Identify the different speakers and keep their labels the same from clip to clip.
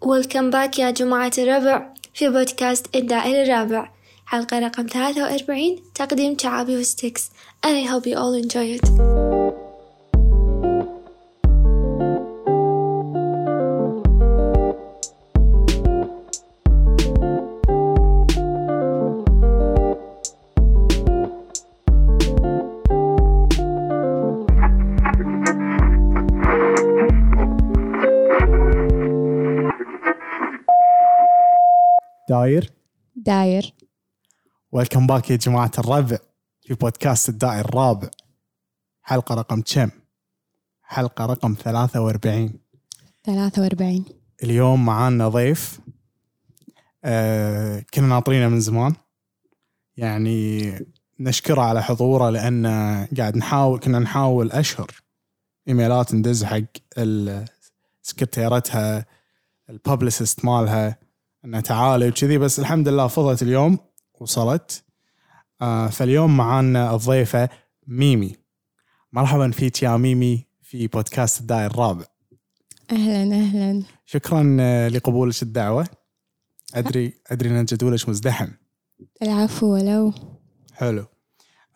Speaker 1: ويلكم باك يا جماعة الربع في بودكاست الدائري الرابع حلقة رقم 43 تقديم شعابي وستكس and I hope you all enjoy it
Speaker 2: داير
Speaker 3: داير
Speaker 2: ويلكم باك يا جماعة الربع في بودكاست الدائر الرابع حلقة رقم كم؟ حلقة رقم 43
Speaker 3: 43
Speaker 2: اليوم معانا ضيف آه كنا ناطرينه من زمان يعني نشكره على حضوره لأن قاعد نحاول كنا نحاول أشهر إيميلات ندز حق ال- سكرتيرتها الببلسست مالها انها تعالي وكذي بس الحمد لله فضت اليوم وصلت آه فاليوم معانا الضيفة ميمي مرحبا فيك يا ميمي في بودكاست الدائر الرابع
Speaker 3: اهلا اهلا
Speaker 2: شكرا آه، لقبولك الدعوة أدري أدري أن جدولك مزدحم
Speaker 3: العفو ولو
Speaker 2: حلو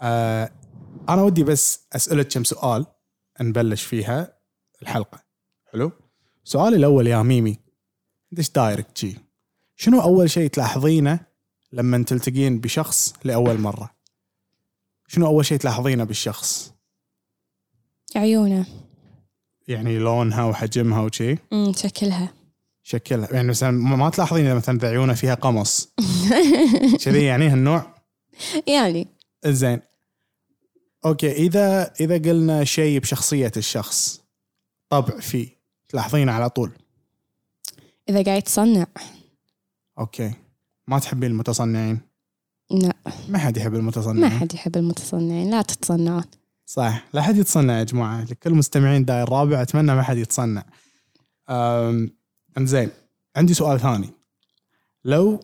Speaker 2: آه أنا ودي بس أسألك كم سؤال نبلش فيها الحلقة حلو سؤالي الأول يا ميمي ليش دايركت جي شنو أول شيء تلاحظينه لما تلتقين بشخص لأول مرة شنو أول شيء تلاحظينه بالشخص
Speaker 3: عيونه
Speaker 2: يعني لونها وحجمها وشي
Speaker 3: امم شكلها
Speaker 2: شكلها يعني مثلا ما ما تلاحظين إذا مثلا إذا عيونه فيها قمص كذي يعني هالنوع
Speaker 3: يعني
Speaker 2: زين اوكي اذا اذا قلنا شيء بشخصيه الشخص طبع فيه تلاحظين على طول
Speaker 3: اذا قاعد تصنع
Speaker 2: اوكي ما تحبين المتصنعين
Speaker 3: لا
Speaker 2: ما حد يحب المتصنعين
Speaker 3: ما حد يحب المتصنعين لا تتصنعون
Speaker 2: صح لا حد يتصنع يا جماعه لكل مستمعين داير رابع اتمنى ما حد يتصنع أم انزين عندي سؤال ثاني لو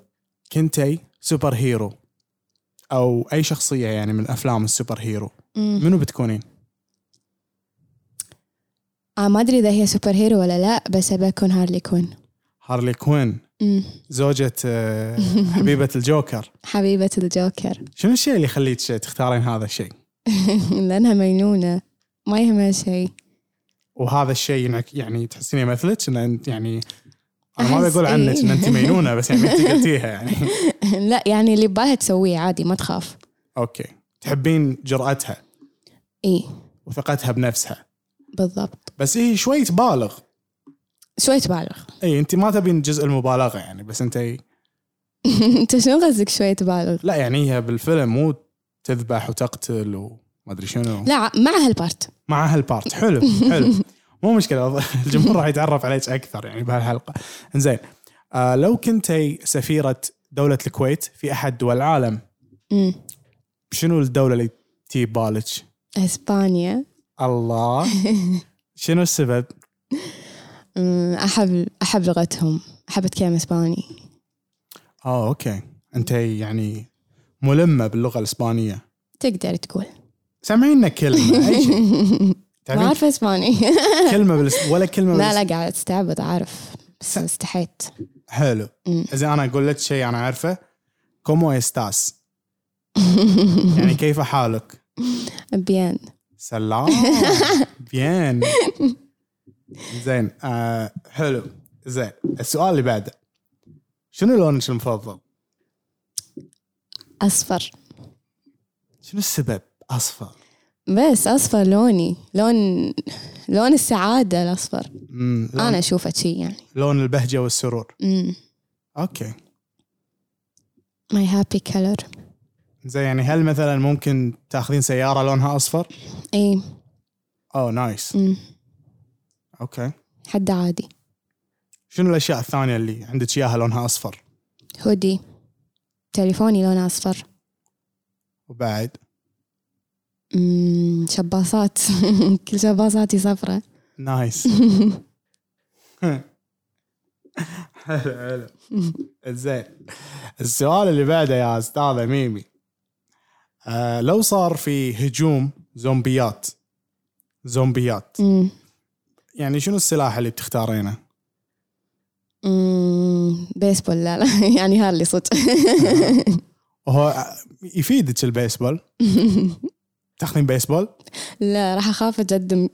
Speaker 2: كنتي سوبر هيرو او اي شخصيه يعني من افلام السوبر هيرو
Speaker 3: أمم.
Speaker 2: منو بتكونين
Speaker 3: آه ما ادري اذا هي سوبر هيرو ولا لا بس ابى اكون هارلي كوين
Speaker 2: هارلي كوين
Speaker 3: أمم.
Speaker 2: زوجة آه، حبيبة الجوكر
Speaker 3: حبيبة الجوكر
Speaker 2: شنو الشيء اللي يخليك تختارين هذا الشيء
Speaker 3: لانها مجنونة ما يهمها شيء
Speaker 2: وهذا الشيء ينعك- يعني تحسين يمثلك ان انت يعني انا ما
Speaker 3: أحس
Speaker 2: بقول عنك ان انت
Speaker 3: إيه.
Speaker 2: مجنونه بس يعني انت قلتيها يعني
Speaker 3: لا يعني اللي ببالها تسويه عادي ما تخاف
Speaker 2: اوكي تحبين جرأتها
Speaker 3: اي
Speaker 2: وثقتها بنفسها
Speaker 3: إيه، بالضبط
Speaker 2: بس هي شوي تبالغ
Speaker 3: شوي تبالغ
Speaker 2: اي انت ما تبين جزء المبالغه يعني بس انت
Speaker 3: انت شنو قصدك شوي تبالغ
Speaker 2: لا يعني هي بالفيلم مو تذبح وتقتل وما ادري شنو
Speaker 3: لا مع هالبارت
Speaker 2: مع هالبارت حلو حلو مو مشكله الجمهور راح يتعرف عليك اكثر يعني بهالحلقه زين آه لو كنتي سفيره دوله الكويت في احد دول العالم
Speaker 3: أمم.
Speaker 2: شنو الدوله اللي تي بالك
Speaker 3: اسبانيا
Speaker 2: الله شنو السبب
Speaker 3: أمم، احب احب لغتهم احب اتكلم اسباني
Speaker 2: اه اوكي انت يعني ملمه باللغه الاسبانيه
Speaker 3: تقدر تقول
Speaker 2: سامعينا كلمه اي شيء
Speaker 3: ما
Speaker 2: تعرفين
Speaker 3: اعرف اسباني
Speaker 2: كلمه بالس... ولا كلمه بالس...
Speaker 3: لا لا قاعد استعبط اعرف بس استحيت
Speaker 2: حلو
Speaker 3: أمم.
Speaker 2: اذا انا قلت شيء انا عارفه كومو استاس يعني كيف حالك
Speaker 3: بيان
Speaker 2: سلام بيان زين آه حلو زين السؤال اللي بعده شنو لونك المفضل؟
Speaker 3: اصفر
Speaker 2: شنو السبب؟ اصفر
Speaker 3: بس اصفر لوني لون لون السعاده الاصفر
Speaker 2: مم، لون,
Speaker 3: انا اشوفه شي يعني
Speaker 2: لون البهجه والسرور
Speaker 3: امم
Speaker 2: اوكي
Speaker 3: ماي هابي كلر
Speaker 2: زين يعني هل مثلا ممكن تاخذين سياره لونها اصفر؟
Speaker 3: اي
Speaker 2: اوه نايس
Speaker 3: أمم.
Speaker 2: اوكي
Speaker 3: حد عادي
Speaker 2: شنو الاشياء الثانيه اللي عندك اياها لونها اصفر؟
Speaker 3: هودي تليفوني لونه اصفر
Speaker 2: وبعد
Speaker 3: أمم، شباصات كل شباصاتي صفرة
Speaker 2: نايس حلو حلو زين السؤال اللي بعده يا استاذه ميمي آه لو صار في هجوم زومبيات زومبيات
Speaker 3: أمم.
Speaker 2: يعني شنو السلاح اللي بتختارينه؟
Speaker 3: أمم، بيسبول لا لا يعني هارلي صدق
Speaker 2: وهو آه، يفيدك البيسبول تاخذين بيسبول
Speaker 3: لا راح اخاف اقدم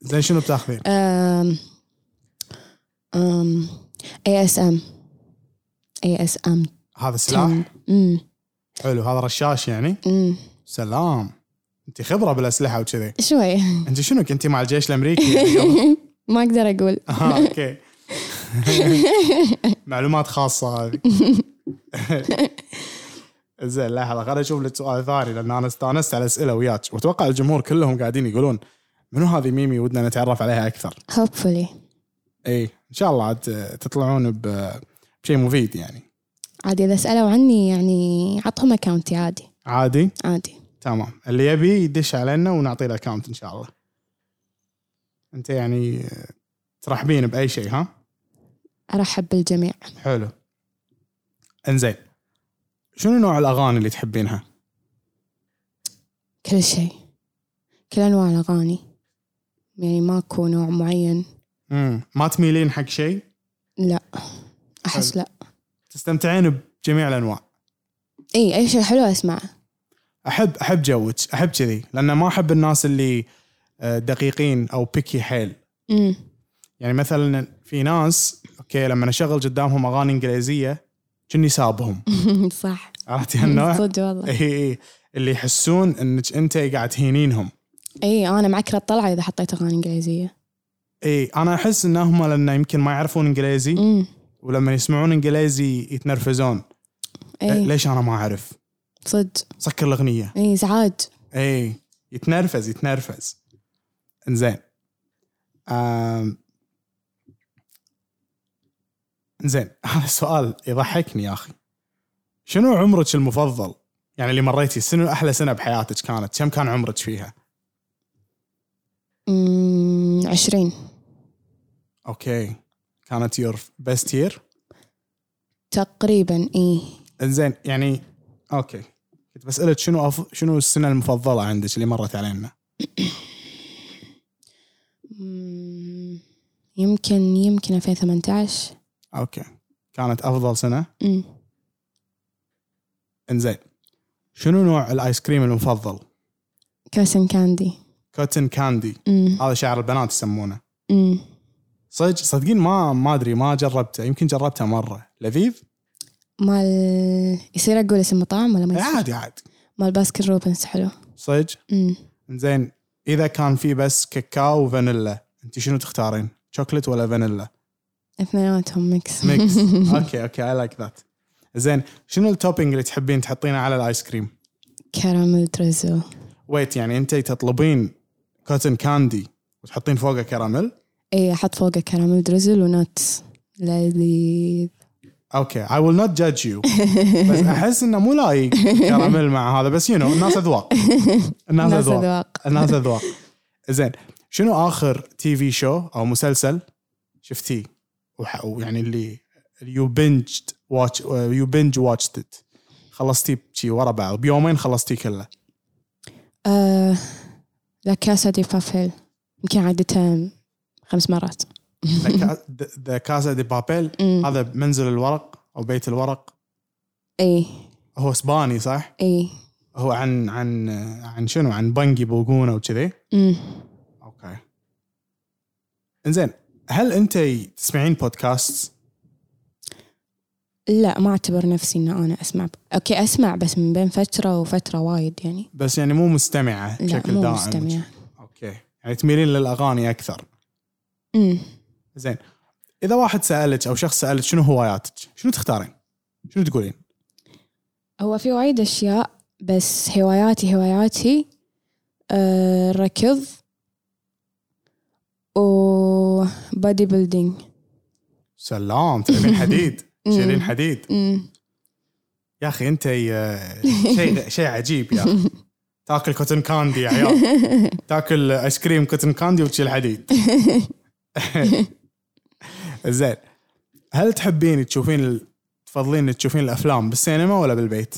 Speaker 2: زين شنو بتاخذين؟
Speaker 3: أم أم اي اس ام اي اس ام
Speaker 2: هذا سلاح حلو هذا رشاش يعني سلام انت خبره بالاسلحه وكذي
Speaker 3: شوي
Speaker 2: انت شنو كنتي مع الجيش الامريكي يعني قبل؟
Speaker 3: ما اقدر اقول
Speaker 2: اها اوكي آه، معلومات خاصه هذه زين لحظه خليني اشوف لك سؤال ثاني لان انا استانست على اسئله وياك واتوقع الجمهور كلهم قاعدين يقولون منو هذه ميمي ودنا نتعرف عليها اكثر
Speaker 3: هوبفولي
Speaker 2: اي ان شاء الله عاد تطلعون ب- بشيء مفيد يعني
Speaker 3: عادي اذا سالوا عني يعني عطهم اكاونتي عادي
Speaker 2: عادي
Speaker 3: عادي
Speaker 2: تمام اللي يبي يدش علينا ونعطيه الاكونت ان شاء الله انت يعني ترحبين باي شيء ها
Speaker 3: ارحب بالجميع
Speaker 2: حلو انزين شنو نوع الاغاني اللي تحبينها
Speaker 3: كل شيء كل انواع الاغاني يعني ماكو نوع معين
Speaker 2: مم. ما تميلين حق شيء
Speaker 3: لا احس لا
Speaker 2: تستمتعين بجميع الانواع
Speaker 3: اي اي شيء حلو اسمعه
Speaker 2: احب احب جوك احب كذي لان ما احب الناس اللي آه، دقيقين او بيكي حيل
Speaker 3: امم
Speaker 2: يعني مثلا في ناس اوكي لما اشغل قدامهم اغاني انجليزيه كني سابهم
Speaker 3: صح
Speaker 2: عرفتي هالنوع؟
Speaker 3: صدق والله
Speaker 2: اي اي اللي يحسون انك انت قاعد تهينينهم
Speaker 3: اي انا معكره الطلعه اذا حطيت اغاني انجليزيه
Speaker 2: اي انا احس انهم لان يمكن ما يعرفون انجليزي
Speaker 3: امم
Speaker 2: ولما يسمعون انجليزي يتنرفزون إيه.
Speaker 3: اي
Speaker 2: ليش انا ما اعرف
Speaker 3: صدق
Speaker 2: سكر الاغنيه
Speaker 3: اي ازعاج
Speaker 2: اي يتنرفز يتنرفز انزين أم... زين هذا السؤال يضحكني يا اخي شنو عمرك المفضل يعني اللي مريتي شنو احلى سنه بحياتك كانت كم كان عمرك فيها
Speaker 3: امم 20
Speaker 2: اوكي كانت يور بيست يير
Speaker 3: تقريبا اي
Speaker 2: زين يعني اوكي كنت بسالك شنو أف... شنو السنه المفضله عندك اللي مرت علينا
Speaker 3: أمم، يمكن يمكن 2018
Speaker 2: اوكي كانت افضل سنه
Speaker 3: امم
Speaker 2: انزين شنو نوع الايس كريم المفضل
Speaker 3: كاسن كاندي
Speaker 2: كوتن كاندي
Speaker 3: امم
Speaker 2: هذا شعر البنات يسمونه
Speaker 3: امم
Speaker 2: صدق صدقين ما ما ادري ما جربته يمكن جربته مره لذيذ
Speaker 3: مال يصير اقول اسم مطعم ولا ما يصير؟
Speaker 2: عادي عادي
Speaker 3: مال باسكن روبنز حلو
Speaker 2: صدق
Speaker 3: امم
Speaker 2: زين اذا كان في بس كاكاو وفانيلا انت شنو تختارين شوكليت ولا فانيلا
Speaker 3: اثنيناتهم ميكس
Speaker 2: ميكس اوكي اوكي اي لايك ذات زين شنو التوبينج اللي تحبين تحطينه على الايس كريم
Speaker 3: كراميل تريزو
Speaker 2: ويت يعني انت تطلبين كوتن كاندي وتحطين فوقه كراميل
Speaker 3: اي احط فوقه كراميل دريزل ونتس لذيذ
Speaker 2: اوكي اي ويل نوت جادج يو بس احس انه مو لايق كراميل مع هذا بس يو نو الناس اذواق الناس
Speaker 3: ناس
Speaker 2: اذواق
Speaker 3: اذواق
Speaker 2: الناس اذواق زين شنو اخر تي في شو او مسلسل شفتيه وح- ويعني اللي يو بنجد واتش يو بنج واتشت ات خلصتيه شي ورا بعض بيومين خلصتيه كله
Speaker 3: آه، لا كاسا دي بابيل يمكن عدتها خمس مرات
Speaker 2: ذا كازا دي بابيل
Speaker 3: أمم.
Speaker 2: هذا منزل الورق او بيت الورق
Speaker 3: اي
Speaker 2: هو اسباني صح؟
Speaker 3: اي
Speaker 2: هو عن عن عن شنو؟ عن بنجي بوقونه وكذي
Speaker 3: أمم.
Speaker 2: اوكي انزين هل انت تسمعين بودكاست؟
Speaker 3: لا ما اعتبر نفسي ان انا اسمع اوكي اسمع بس من بين فتره وفتره وايد يعني
Speaker 2: بس يعني مو مستمعه
Speaker 3: لا
Speaker 2: بشكل
Speaker 3: مو
Speaker 2: دائم
Speaker 3: مستمعه
Speaker 2: اوكي يعني تميلين للاغاني اكثر
Speaker 3: أمم.
Speaker 2: زين اذا واحد سالك او شخص سالك شنو هواياتك شنو تختارين شنو تقولين
Speaker 3: هو في وايد أشياء بس هواياتي هواياتي آه، الركض و بادي بيلدينج
Speaker 2: سلام تلعبين حديد
Speaker 3: مم.
Speaker 2: تشيلين حديد
Speaker 3: أمم.
Speaker 2: يا اخي انت يا- شيء شيء عجيب يا اخي تاكل كوتن كاندي يا عيال تاكل ايس كريم كوتن كاندي وتشيل حديد زين هل تحبين تشوفين ال- تفضلين تشوفين الافلام بالسينما ولا بالبيت؟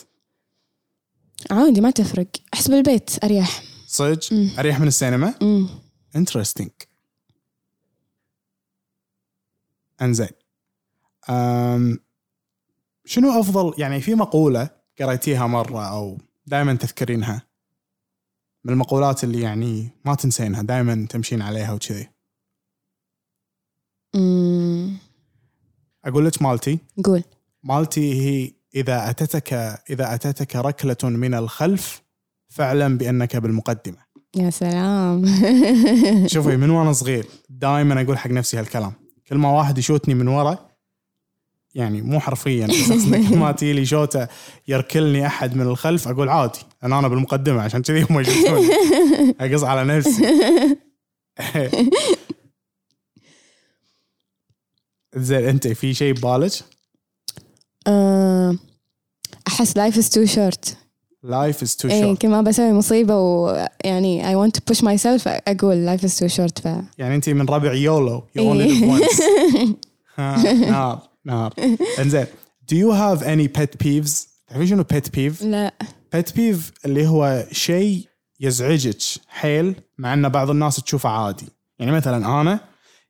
Speaker 3: عادي ما تفرق أحسب البيت أريح
Speaker 2: صدق
Speaker 3: مم.
Speaker 2: اريح من السينما؟
Speaker 3: أمم.
Speaker 2: انترستنج انزين أم، شنو افضل يعني في مقوله قريتيها مره او دائما تذكرينها من المقولات اللي يعني ما تنسينها دائما تمشين عليها وكذي
Speaker 3: أمم،
Speaker 2: اقول لك مالتي
Speaker 3: قول
Speaker 2: مالتي هي اذا اتتك اذا اتتك ركله من الخلف فاعلم بانك بالمقدمه
Speaker 3: يا سلام
Speaker 2: شوفي من وانا صغير دائما اقول حق نفسي هالكلام كل ما واحد يشوتني من ورا يعني مو حرفيا بس أقصد كل ما تيلي شوته يركلني احد من الخلف اقول عادي انا انا بالمقدمه عشان كذي هم يشوتوني اقص على نفسي زين انت في شيء ببالك؟
Speaker 3: آه، احس لايف از تو شورت
Speaker 2: لايف از تو
Speaker 3: اي
Speaker 2: شورت
Speaker 3: كل ما إيه، بسوي يعني مصيبه ويعني اي ونت تو بوش ماي سيلف اقول لايف از تو شورت ف
Speaker 2: يعني انت من ربع يولو يو اونلي
Speaker 3: إيه.
Speaker 2: ليف وانس نار نار انزين do you have any pet peeves؟ تعرفين شنو pet peeve؟
Speaker 3: لا
Speaker 2: بيت بيف اللي هو شيء يزعجك حيل مع ان بعض الناس تشوفه عادي يعني مثلا انا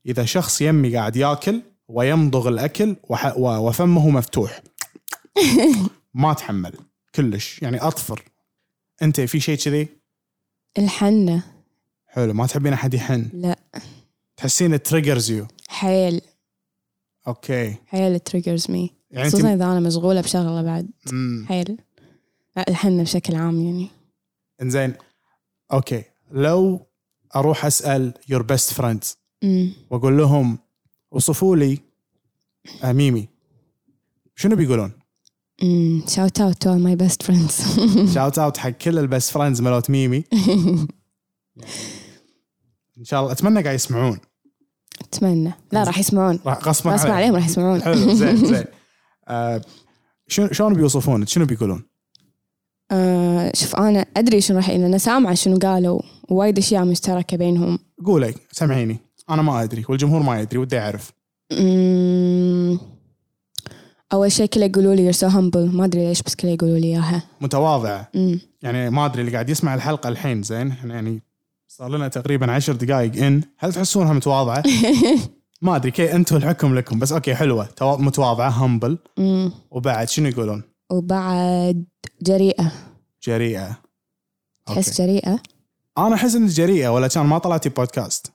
Speaker 2: اذا شخص يمي قاعد ياكل ويمضغ الاكل وح- و- وفمه مفتوح ما اتحمل كلش يعني اطفر انت في شيء كذي
Speaker 3: الحنه
Speaker 2: حلو ما تحبين احد يحن
Speaker 3: لا
Speaker 2: تحسين تريجرز يو
Speaker 3: حيل
Speaker 2: اوكي
Speaker 3: حيل تريجرز مي
Speaker 2: يعني
Speaker 3: خصوصا
Speaker 2: انت
Speaker 3: اذا انا مشغوله بشغله بعد
Speaker 2: مم.
Speaker 3: حيل لا، الحنه بشكل عام يعني
Speaker 2: انزين اوكي لو اروح اسال يور بيست فريندز
Speaker 3: أمم.
Speaker 2: واقول لهم وصفوا لي آه، ميمي شنو بيقولون؟
Speaker 3: شاوت اوت تو ماي بيست فريندز
Speaker 2: شاوت اوت حق كل البس فريندز مالت ميمي ان شاء الله اتمنى قاعد يسمعون
Speaker 3: اتمنى لا راح يسمعون
Speaker 2: راح غصبا
Speaker 3: ما اسمع
Speaker 2: عليهم.
Speaker 3: عليهم راح يسمعون
Speaker 2: حلو زين زين آه، شنو شلون بيوصفونك؟ شنو بيقولون؟
Speaker 3: آه، شوف انا ادري شنو راح لان سامعه شنو قالوا وايد اشياء مشتركه بينهم
Speaker 2: قولي سامعيني انا ما ادري والجمهور ما يدري ودي اعرف
Speaker 3: أمم، اول شيء كله يقولوا لي you're so humble ما ادري ليش بس كله يقولوا لي اياها
Speaker 2: متواضعه
Speaker 3: أمم.
Speaker 2: يعني ما ادري اللي قاعد يسمع الحلقه الحين زين إحنا يعني صار لنا تقريبا عشر دقائق ان هل تحسونها متواضعه؟ ما ادري كي انتم الحكم لكم بس اوكي حلوه توا- متواضعه همبل
Speaker 3: أمم.
Speaker 2: وبعد شنو يقولون؟
Speaker 3: وبعد جريئه
Speaker 2: جريئه
Speaker 3: تحس
Speaker 2: أوكي.
Speaker 3: جريئه
Speaker 2: انا احس ان جريئه ولا كان ما طلعتي بودكاست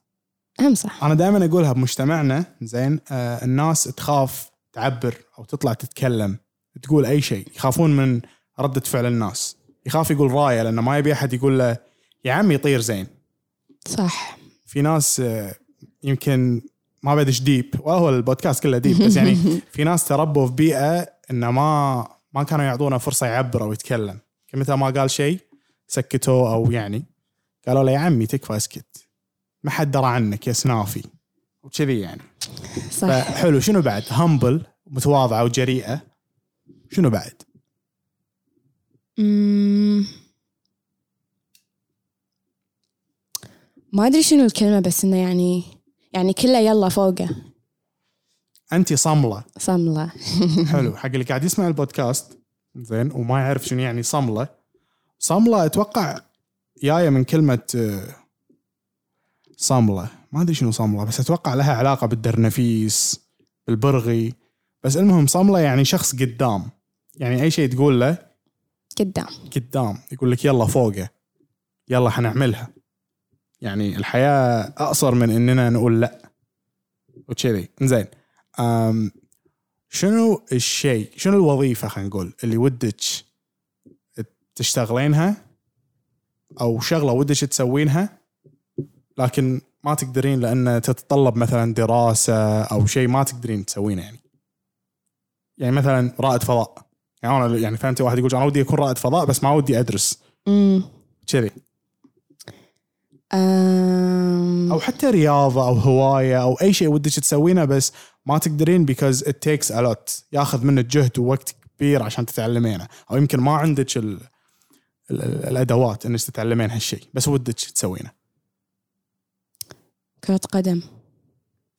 Speaker 3: هم صح
Speaker 2: انا دائما اقولها بمجتمعنا زين آه الناس تخاف تعبر او تطلع تتكلم تقول اي شيء يخافون من رده فعل الناس يخاف يقول رايه لانه ما يبي احد يقول له يا عمي طير زين
Speaker 3: صح
Speaker 2: في ناس آه، يمكن ما بدش ديب ولا هو البودكاست كله ديب بس يعني في ناس تربوا في بيئه انه ما ما كانوا يعطونه فرصه يعبر او يتكلم متى ما قال شيء سكتوه او يعني قالوا له يا عمي تكفى اسكت ما حد درى عنك يا سنافي وكذي يعني
Speaker 3: صح
Speaker 2: فحلو شنو بعد همبل متواضعه وجريئه شنو بعد
Speaker 3: أمم. ما ادري شنو الكلمه بس انه يعني يعني كله يلا فوقه
Speaker 2: انت صمله
Speaker 3: صمله
Speaker 2: حلو حق اللي قاعد يسمع البودكاست زين وما يعرف شنو يعني صمله صمله اتوقع جايه من كلمه آه، صمله ما ادري شنو صمله بس اتوقع لها علاقه بالدرنفيس بالبرغي بس المهم صمله يعني شخص قدام يعني اي شيء تقول له
Speaker 3: قدام
Speaker 2: قدام يقول لك يلا فوقه يلا حنعملها يعني الحياة أقصر من إننا نقول لأ وكذي زين أم شنو الشيء شنو الوظيفة خلينا نقول اللي ودك تشتغلينها أو شغلة ودك تسوينها لكن ما تقدرين لأن تتطلب مثلا دراسة أو شيء ما تقدرين تسوينه يعني يعني مثلا رائد فضاء يعني انا يعني فهمت واحد يقول انا ودي اكون رائد فضاء بس ما ودي ادرس
Speaker 3: أمم.
Speaker 2: كذي
Speaker 3: أم...
Speaker 2: او حتى رياضه او هوايه او اي شيء ودك تسوينه بس ما تقدرين because it takes a lot ياخذ منك جهد ووقت كبير عشان تتعلمينه او يمكن ما عندك ال... ال... ال- الادوات انك تتعلمين هالشيء بس ودك تسوينه
Speaker 3: كرة قدم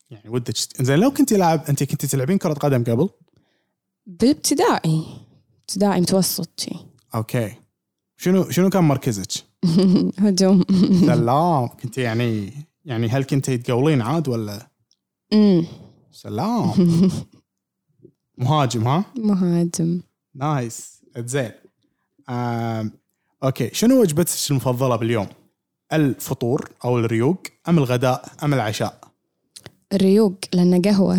Speaker 2: يعني ودك زين لو كنت لاعب انت كنت تلعبين كره قدم قبل
Speaker 3: بالابتدائي ابتدائي متوسط شي
Speaker 2: اوكي شنو شنو كان مركزك؟
Speaker 3: هجوم
Speaker 2: سلام كنت يعني يعني هل كنت تقولين عاد ولا
Speaker 3: أمم.
Speaker 2: سلام مهاجم ها
Speaker 3: مهاجم
Speaker 2: نايس زين آم، اوكي شنو وجبتك المفضله باليوم الفطور او الريوق ام الغداء ام العشاء
Speaker 3: الريوق لأنه قهوة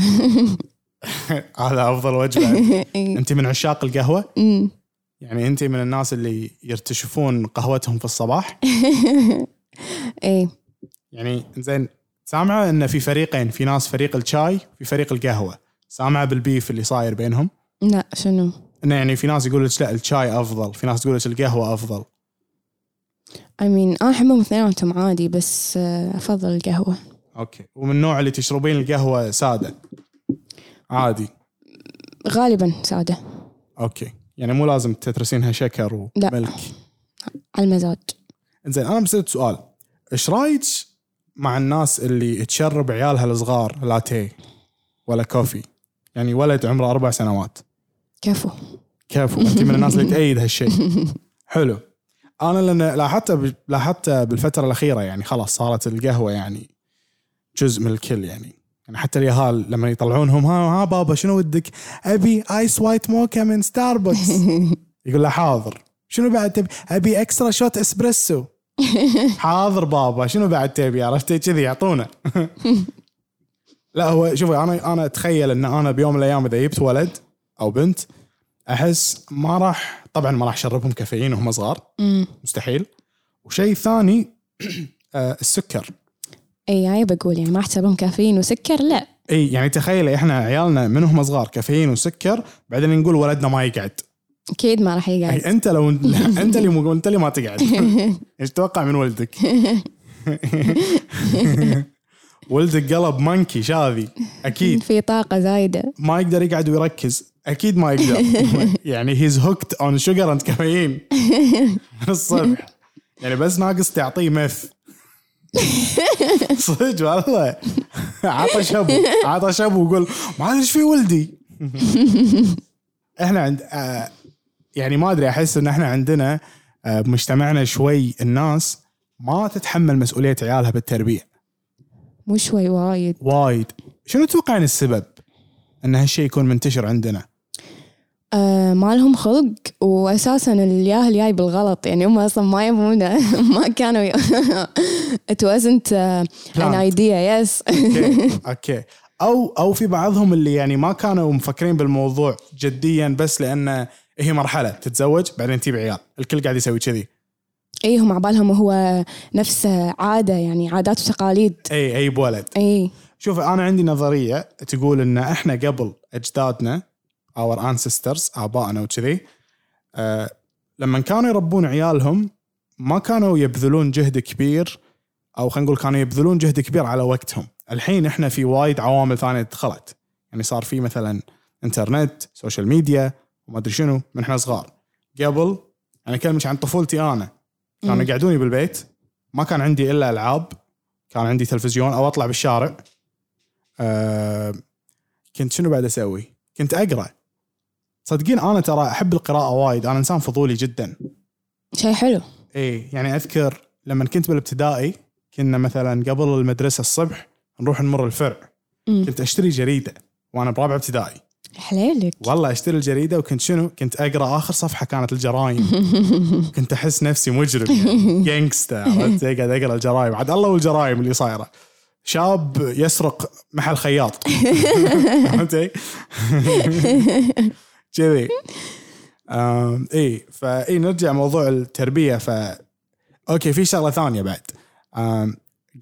Speaker 2: هذا افضل وجبه انت من عشاق القهوه
Speaker 3: أمم.
Speaker 2: يعني انت من الناس اللي يرتشفون قهوتهم في الصباح
Speaker 3: ايه
Speaker 2: يعني زين سامعه ان في فريقين في ناس فريق الشاي في فريق القهوه سامعه بالبيف اللي صاير بينهم
Speaker 3: لا شنو
Speaker 2: انه يعني في ناس يقول لك لا الشاي افضل في ناس تقول لك القهوه افضل
Speaker 3: I mean أنا أحبهم اثنيناتهم عادي بس آه، أفضل القهوة
Speaker 2: اوكي ومن النوع اللي تشربين القهوه ساده عادي
Speaker 3: غالبا سادة
Speaker 2: اوكي يعني مو لازم تترسينها شكر
Speaker 3: لا.
Speaker 2: وملك
Speaker 3: على المزاج
Speaker 2: زين انا بسالك سؤال ايش رايك مع الناس اللي تشرب عيالها الصغار لاتيه ولا كوفي يعني ولد عمره اربع سنوات
Speaker 3: كفو
Speaker 2: كفو انت من الناس اللي تأيد هالشيء حلو انا لان لاحظت لاحظت بالفتره الاخيره يعني خلاص صارت القهوه يعني جزء من الكل يعني يعني حتى اليهال لما يطلعونهم ها ها بابا شنو ودك؟ ابي ايس وايت موكا من ستاربكس يقول له حاضر شنو بعد تبي؟ ابي اكسترا شوت اسبريسو حاضر بابا شنو بعد تبي عرفتي كذي يعطونه لا هو شوفي انا انا اتخيل ان انا بيوم من الايام اذا جبت ولد او بنت احس ما راح طبعا ما راح اشربهم كافيين وهم صغار
Speaker 3: أمم.
Speaker 2: مستحيل وشيء ثاني آه، السكر
Speaker 3: اي هاي بقول يعني ما احسبهم كافيين وسكر لا
Speaker 2: اي يعني تخيل احنا عيالنا من هم صغار كافيين وسكر بعدين نقول ولدنا ما يقعد
Speaker 3: اكيد ما راح يقعد
Speaker 2: يعني انت لو انت اللي مو انت اللي ما تقعد ايش تتوقع من ولدك؟ ولدك قلب مانكي شاذي اكيد
Speaker 3: في طاقة زايدة
Speaker 2: ما يقدر يقعد ويركز اكيد ما يقدر يعني هيز هوكت اون شوجر اند كافيين من الصبح يعني بس ناقص تعطيه مث صدق والله عطش ابو عطش ابو وقول معلش في ولدي احنا عند آه، يعني ما ادري احس ان احنا عندنا آه، بمجتمعنا شوي الناس ما تتحمل مسؤوليه عيالها بالتربيه
Speaker 3: مو شوي وايد
Speaker 2: وايد شنو تتوقعين السبب ان هالشيء يكون منتشر عندنا
Speaker 3: آه ما لهم خلق واساسا الياهل جاي بالغلط يعني هم اصلا ما يبونه ما كانوا ي... it wasn't uh, an
Speaker 2: Planned.
Speaker 3: idea yes
Speaker 2: اوكي اوكي او او في بعضهم اللي يعني ما كانوا مفكرين بالموضوع جديا بس لان هي مرحله تتزوج بعدين تجيب عيال الكل قاعد يسوي كذي
Speaker 3: اي إيه، هم على بالهم هو نفس عاده يعني عادات وتقاليد إيه،
Speaker 2: اي اي بولد
Speaker 3: اي
Speaker 2: شوف انا عندي نظريه تقول ان احنا قبل اجدادنا اور انسسترز ابائنا وكذي آه لما كانوا يربون عيالهم ما كانوا يبذلون جهد كبير او خلينا نقول كانوا يبذلون جهد كبير على وقتهم الحين احنا في وايد عوامل ثانيه دخلت يعني صار في مثلا انترنت سوشيال ميديا وما ادري شنو من احنا صغار قبل انا اكلمك عن طفولتي انا كانوا
Speaker 3: مم.
Speaker 2: يقعدوني بالبيت ما كان عندي الا العاب كان عندي تلفزيون او اطلع بالشارع آه، كنت شنو بعد اسوي؟ كنت اقرا صدقين انا ترى احب القراءه وايد انا انسان فضولي جدا
Speaker 3: شيء حلو
Speaker 2: اي يعني اذكر لما كنت بالابتدائي كنا مثلا قبل المدرسه الصبح نروح نمر الفرع
Speaker 3: مم.
Speaker 2: كنت اشتري جريده وانا برابعه ابتدائي
Speaker 3: حليلك
Speaker 2: والله اشتري الجريده وكنت شنو كنت اقرا اخر صفحه كانت الجرايم كنت احس نفسي مجرم يعني جانكستا عرفت قاعد اقرا الجرايم عاد الله والجرايم اللي صايره شاب يسرق محل خياط عرفت كذي أم، اي فاي نرجع موضوع التربيه ف اوكي في شغله ثانيه بعد أم،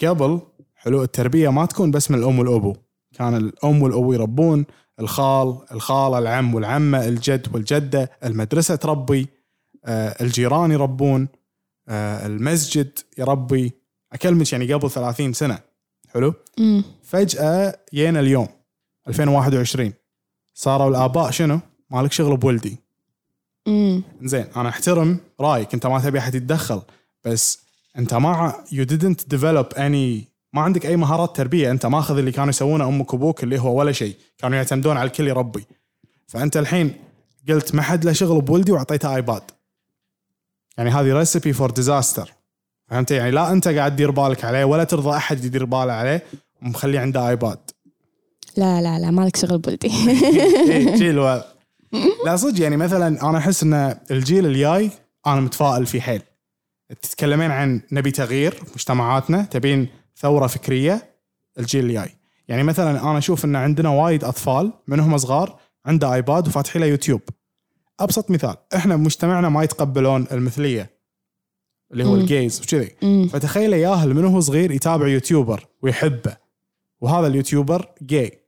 Speaker 2: قبل حلو التربيه ما تكون بس من الام والابو كان الام والابو يربون الخال الخاله العم والعمه الجد والجده المدرسه تربي آه، الجيران يربون آه، المسجد يربي اكلمك يعني قبل 30 سنه حلو
Speaker 3: مم.
Speaker 2: فجاه جينا اليوم 2021 صاروا الاباء شنو؟ مالك شغل بولدي
Speaker 3: مم.
Speaker 2: زين انا احترم رايك انت ما تبي احد يتدخل بس انت ما يو didnt ديفلوب اني ما عندك اي مهارات تربيه انت ماخذ اللي كانوا يسوونه امك وابوك اللي هو ولا شيء كانوا يعتمدون على الكل يربي فانت الحين قلت ما حد له شغل بولدي وعطيته ايباد يعني هذه ريسبي فور ديزاستر فهمت يعني لا انت قاعد تدير بالك عليه ولا ترضى احد يدير باله عليه ومخليه عنده ايباد
Speaker 3: لا لا لا مالك شغل بولدي
Speaker 2: إيه، جيل و... لا صدق يعني مثلا انا احس ان الجيل الجاي انا متفائل فيه حيل تتكلمين عن نبي تغيير في مجتمعاتنا تبين ثوره فكريه الجيل الجاي يعني مثلا انا اشوف ان عندنا وايد اطفال منهم صغار عنده ايباد وفاتحين له يوتيوب ابسط مثال احنا بمجتمعنا ما يتقبلون المثليه اللي هو
Speaker 3: مم.
Speaker 2: الجيز وكذي
Speaker 3: أمم.
Speaker 2: فتخيل ياهل من هو صغير يتابع يوتيوبر ويحبه وهذا اليوتيوبر جاي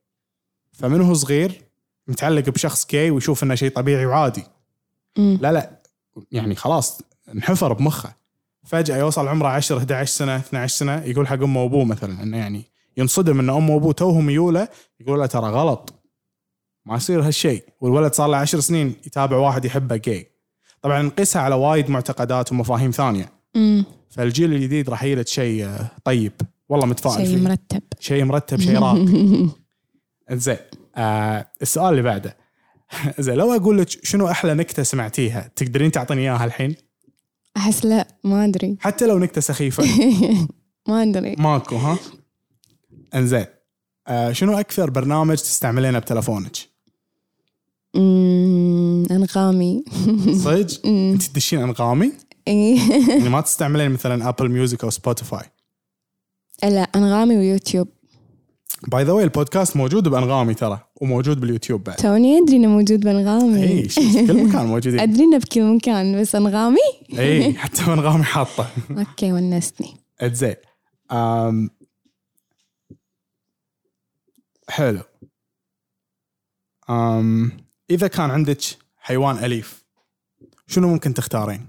Speaker 2: فمن هو صغير متعلق بشخص جاي ويشوف انه شيء طبيعي وعادي
Speaker 3: أمم.
Speaker 2: لا لا يعني خلاص انحفر بمخه فجاه يوصل عمره 10 11 سنه 12 سنه يقول حق امه وابوه مثلا انه يعني ينصدم ان امه وابوه توهم يوله يقول له ترى غلط ما يصير هالشيء والولد صار له 10 سنين يتابع واحد يحبه جاي طبعا نقيسها على وايد معتقدات ومفاهيم ثانيه
Speaker 3: أمم.
Speaker 2: فالجيل الجديد راح يلد شيء آه، طيب والله متفائل
Speaker 3: شيء
Speaker 2: فيه
Speaker 3: مرتب
Speaker 2: شيء مرتب شيء راق زين آه السؤال اللي بعده زين لو اقول لك شنو احلى نكته سمعتيها تقدرين تعطيني اياها الحين
Speaker 3: احس لا ما ادري
Speaker 2: حتى لو نكته سخيفه
Speaker 3: ما ادري
Speaker 2: ماكو ها انزين آه شنو اكثر برنامج تستعملينه بتلفونك
Speaker 3: أمم، انغامي
Speaker 2: صدق
Speaker 3: أمم.
Speaker 2: انت تدشين انغامي
Speaker 3: إيه.
Speaker 2: يعني ما تستعملين مثلا ابل ميوزك او سبوتيفاي
Speaker 3: لا انغامي ويوتيوب
Speaker 2: باي ذا واي البودكاست موجود بانغامي ترى وموجود باليوتيوب بعد
Speaker 3: توني ادري انه موجود بانغامي
Speaker 2: اي شي- كل مكان موجودين
Speaker 3: ادري انه بكل مكان بس انغامي
Speaker 2: اي حتى انغامي حاطه
Speaker 3: اوكي ونستني
Speaker 2: زين أم... حلو أم... اذا كان عندك حيوان اليف شنو ممكن تختارين؟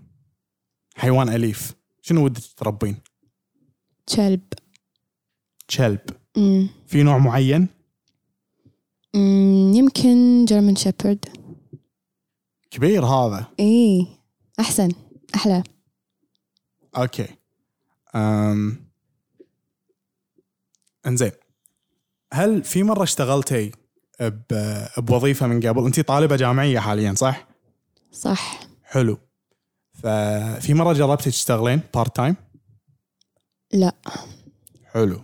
Speaker 2: حيوان اليف شنو ودك تربين؟
Speaker 3: كلب
Speaker 2: كلب
Speaker 3: أمم.
Speaker 2: في نوع معين؟
Speaker 3: أمم، يمكن جيرمن شيبرد
Speaker 2: كبير هذا
Speaker 3: اي احسن احلى
Speaker 2: اوكي أم... انزين هل في مره اشتغلتي ب... بوظيفه من قبل؟ انت طالبه جامعيه حاليا صح؟
Speaker 3: صح
Speaker 2: حلو ففي مره جربتي تشتغلين بارت تايم؟
Speaker 3: لا
Speaker 2: حلو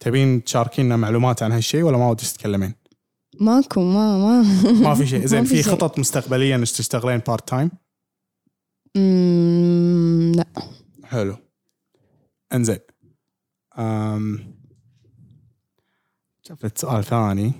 Speaker 2: تبين تشاركينا معلومات عن هالشيء ولا ما ودك تتكلمين؟
Speaker 3: ماكو ما ما
Speaker 2: ما في شيء، زين
Speaker 3: ما
Speaker 2: في
Speaker 3: شيء.
Speaker 2: خطط مستقبليه انك تشتغلين بارت تايم؟
Speaker 3: أمم، لا
Speaker 2: حلو انزين أم... شفت سؤال ثاني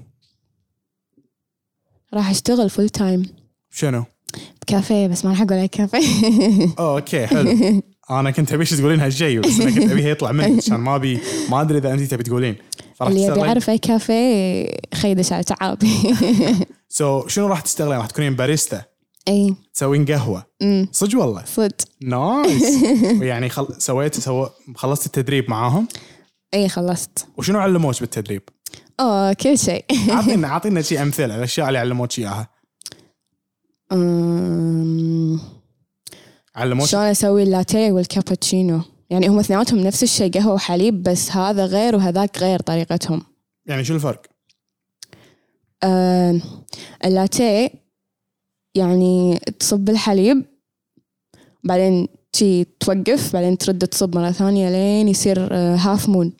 Speaker 3: راح اشتغل فول تايم
Speaker 2: شنو؟
Speaker 3: بكافيه بس ما راح اقول لك كافيه
Speaker 2: أوه، اوكي حلو انا كنت ابيش تقولين هالشيء بس انا كنت ابيها يطلع منك عشان ما ابي ما ادري اذا انت تبي تقولين فراح
Speaker 3: اللي يبي
Speaker 2: تشتغلين
Speaker 3: يعرف اي كافيه خيدش على تعابي
Speaker 2: سو شنو راح تشتغلين؟ راح تكونين باريستا
Speaker 3: اي
Speaker 2: تسوين قهوه
Speaker 3: أمم،
Speaker 2: صدق والله
Speaker 3: إيه. صدق
Speaker 2: نايس يعني خل... سويت سو... خلصت التدريب معاهم
Speaker 3: اي إيه، خلصت
Speaker 2: وشنو علموك بالتدريب؟
Speaker 3: اوه كل شيء
Speaker 2: اعطينا اعطينا شي امثله على الاشياء اللي علموك اياها
Speaker 3: أمم،
Speaker 2: علموك
Speaker 3: شلون اسوي اللاتيه والكابتشينو يعني هم اثنيناتهم نفس الشيء قهوه وحليب بس هذا غير وهذاك غير طريقتهم
Speaker 2: يعني شو الفرق؟
Speaker 3: آه، اللاتيه يعني تصب الحليب بعدين تي توقف بعدين ترد تصب مرة ثانية لين يصير آه، هاف مون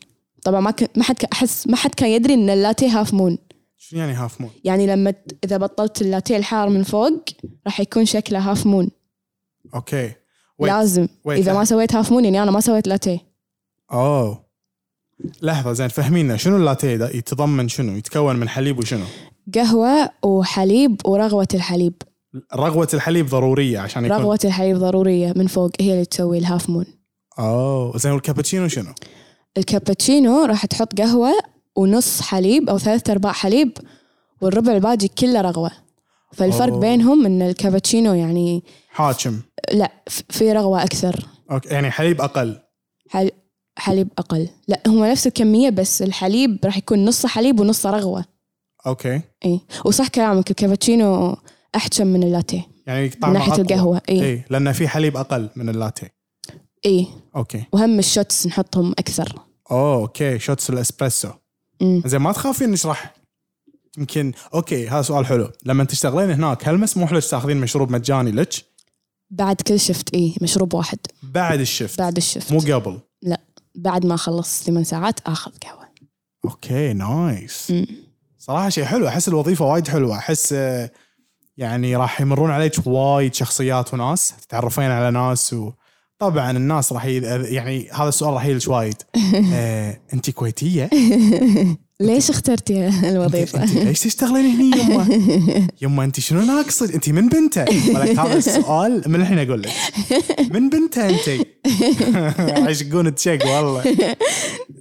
Speaker 3: طبعا ما كن ما حد كان- احس ما حد كان يدري ان اللاتيه هاف مون
Speaker 2: شنو يعني هاف مون؟
Speaker 3: يعني لما ت- اذا بطلت اللاتيه الحار من فوق راح يكون شكله هاف مون
Speaker 2: اوكي Wait.
Speaker 3: لازم
Speaker 2: ويت
Speaker 3: اذا ما سويت هاف مون يعني انا ما سويت لاتيه
Speaker 2: اوه لحظه Oh. زين فهمينا شنو اللاتيه ده يتضمن شنو؟ يتكون من حليب وشنو؟
Speaker 3: قهوة وحليب ورغوة الحليب
Speaker 2: رغوه الحليب ضروريه عشان يكون
Speaker 3: رغوة الحليب ضرورية من فوق هي اللي تسوي الهاف مون
Speaker 2: اوه Oh. زين والكابتشينو شنو؟
Speaker 3: الكابتشينو راح تحط قهوة ونص حليب أو ثلاثة أرباع حليب والربع الباقي كله رغوة فالفرق
Speaker 2: أوه.
Speaker 3: أوه. بينهم إن الكابتشينو يعني
Speaker 2: حاكم
Speaker 3: لا ف- في رغوة أكثر
Speaker 2: اوكي يعني حليب اقل
Speaker 3: حل... حليب أقل لا هو نفس الكمية بس الحليب راح يكون نص حليب ونص رغوة
Speaker 2: اوكي
Speaker 3: إي وصح كلامك الكابتشينو أحجم من اللاتيه
Speaker 2: يعني
Speaker 3: من
Speaker 2: طعمه
Speaker 3: ناحية
Speaker 2: أقوى. إيه.
Speaker 3: القهوة إيه، إي
Speaker 2: اي لان في حليب اقل من اللاتيه
Speaker 3: إي
Speaker 2: اوكي
Speaker 3: إيه. وهم الشوتس نحطهم أكثر
Speaker 2: اوه اوكي شوتس الاسبريسو
Speaker 3: مم.
Speaker 2: زين ما تخافين نشرح يمكن اوكي هذا سؤال حلو لما تشتغلين هناك هل مسموح لك تاخذين مشروب مجاني لك
Speaker 3: بعد كل شفت إي مشروب واحد
Speaker 2: بعد الشفت
Speaker 3: بعد الشفت
Speaker 2: مو قبل
Speaker 3: بعد ما اخلص ثمان ساعات اخذ قهوه
Speaker 2: اوكي نايس
Speaker 3: مم.
Speaker 2: صراحه شيء حلو احس الوظيفه وايد حلوه احس آه، يعني راح يمرون عليك وايد شخصيات وناس تتعرفين على ناس وطبعا الناس راح ي... يعني هذا السؤال راح يجيك وايد آه، انت كويتيه
Speaker 3: ليش اخترتي الوظيفة؟
Speaker 2: انت ليش تشتغلين هني يما؟ يما انت شنو ناقصك؟ انت من بنته؟ ولك هذا السؤال من الحين اقول لك من بنته انت؟ عشقون تشيك والله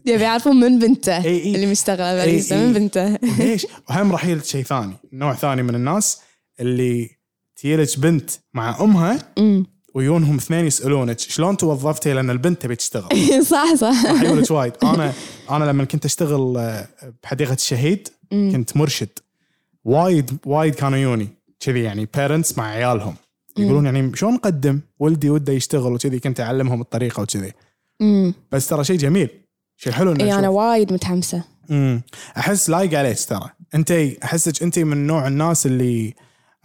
Speaker 3: يبي يعرفون من بنته
Speaker 2: إي إي.
Speaker 3: اللي مشتغلة
Speaker 2: إي
Speaker 3: باريستا
Speaker 2: إي.
Speaker 3: من بنته
Speaker 2: ليش؟ وهم راح يجيك شيء ثاني، نوع ثاني من الناس اللي تجيلك بنت مع امها
Speaker 3: أمم.
Speaker 2: ويونهم اثنين يسالونك شلون توظفتي لان البنت تبي تشتغل
Speaker 3: صح صح
Speaker 2: راح يقول لك وايد انا انا لما كنت اشتغل آه، بحديقه الشهيد كنت مرشد وايد وايد كانوا يوني كذي يعني بيرنتس مع عيالهم يقولون يعني شلون نقدم ولدي وده يشتغل وكذي كنت اعلمهم الطريقه وكذي
Speaker 3: أمم.
Speaker 2: بس ترى شيء جميل شيء حلو انه
Speaker 3: اي انا
Speaker 2: نشوف.
Speaker 3: إيه، وايد متحمسة
Speaker 2: امم احس لايق عليك ترى انت احسك انت من نوع الناس اللي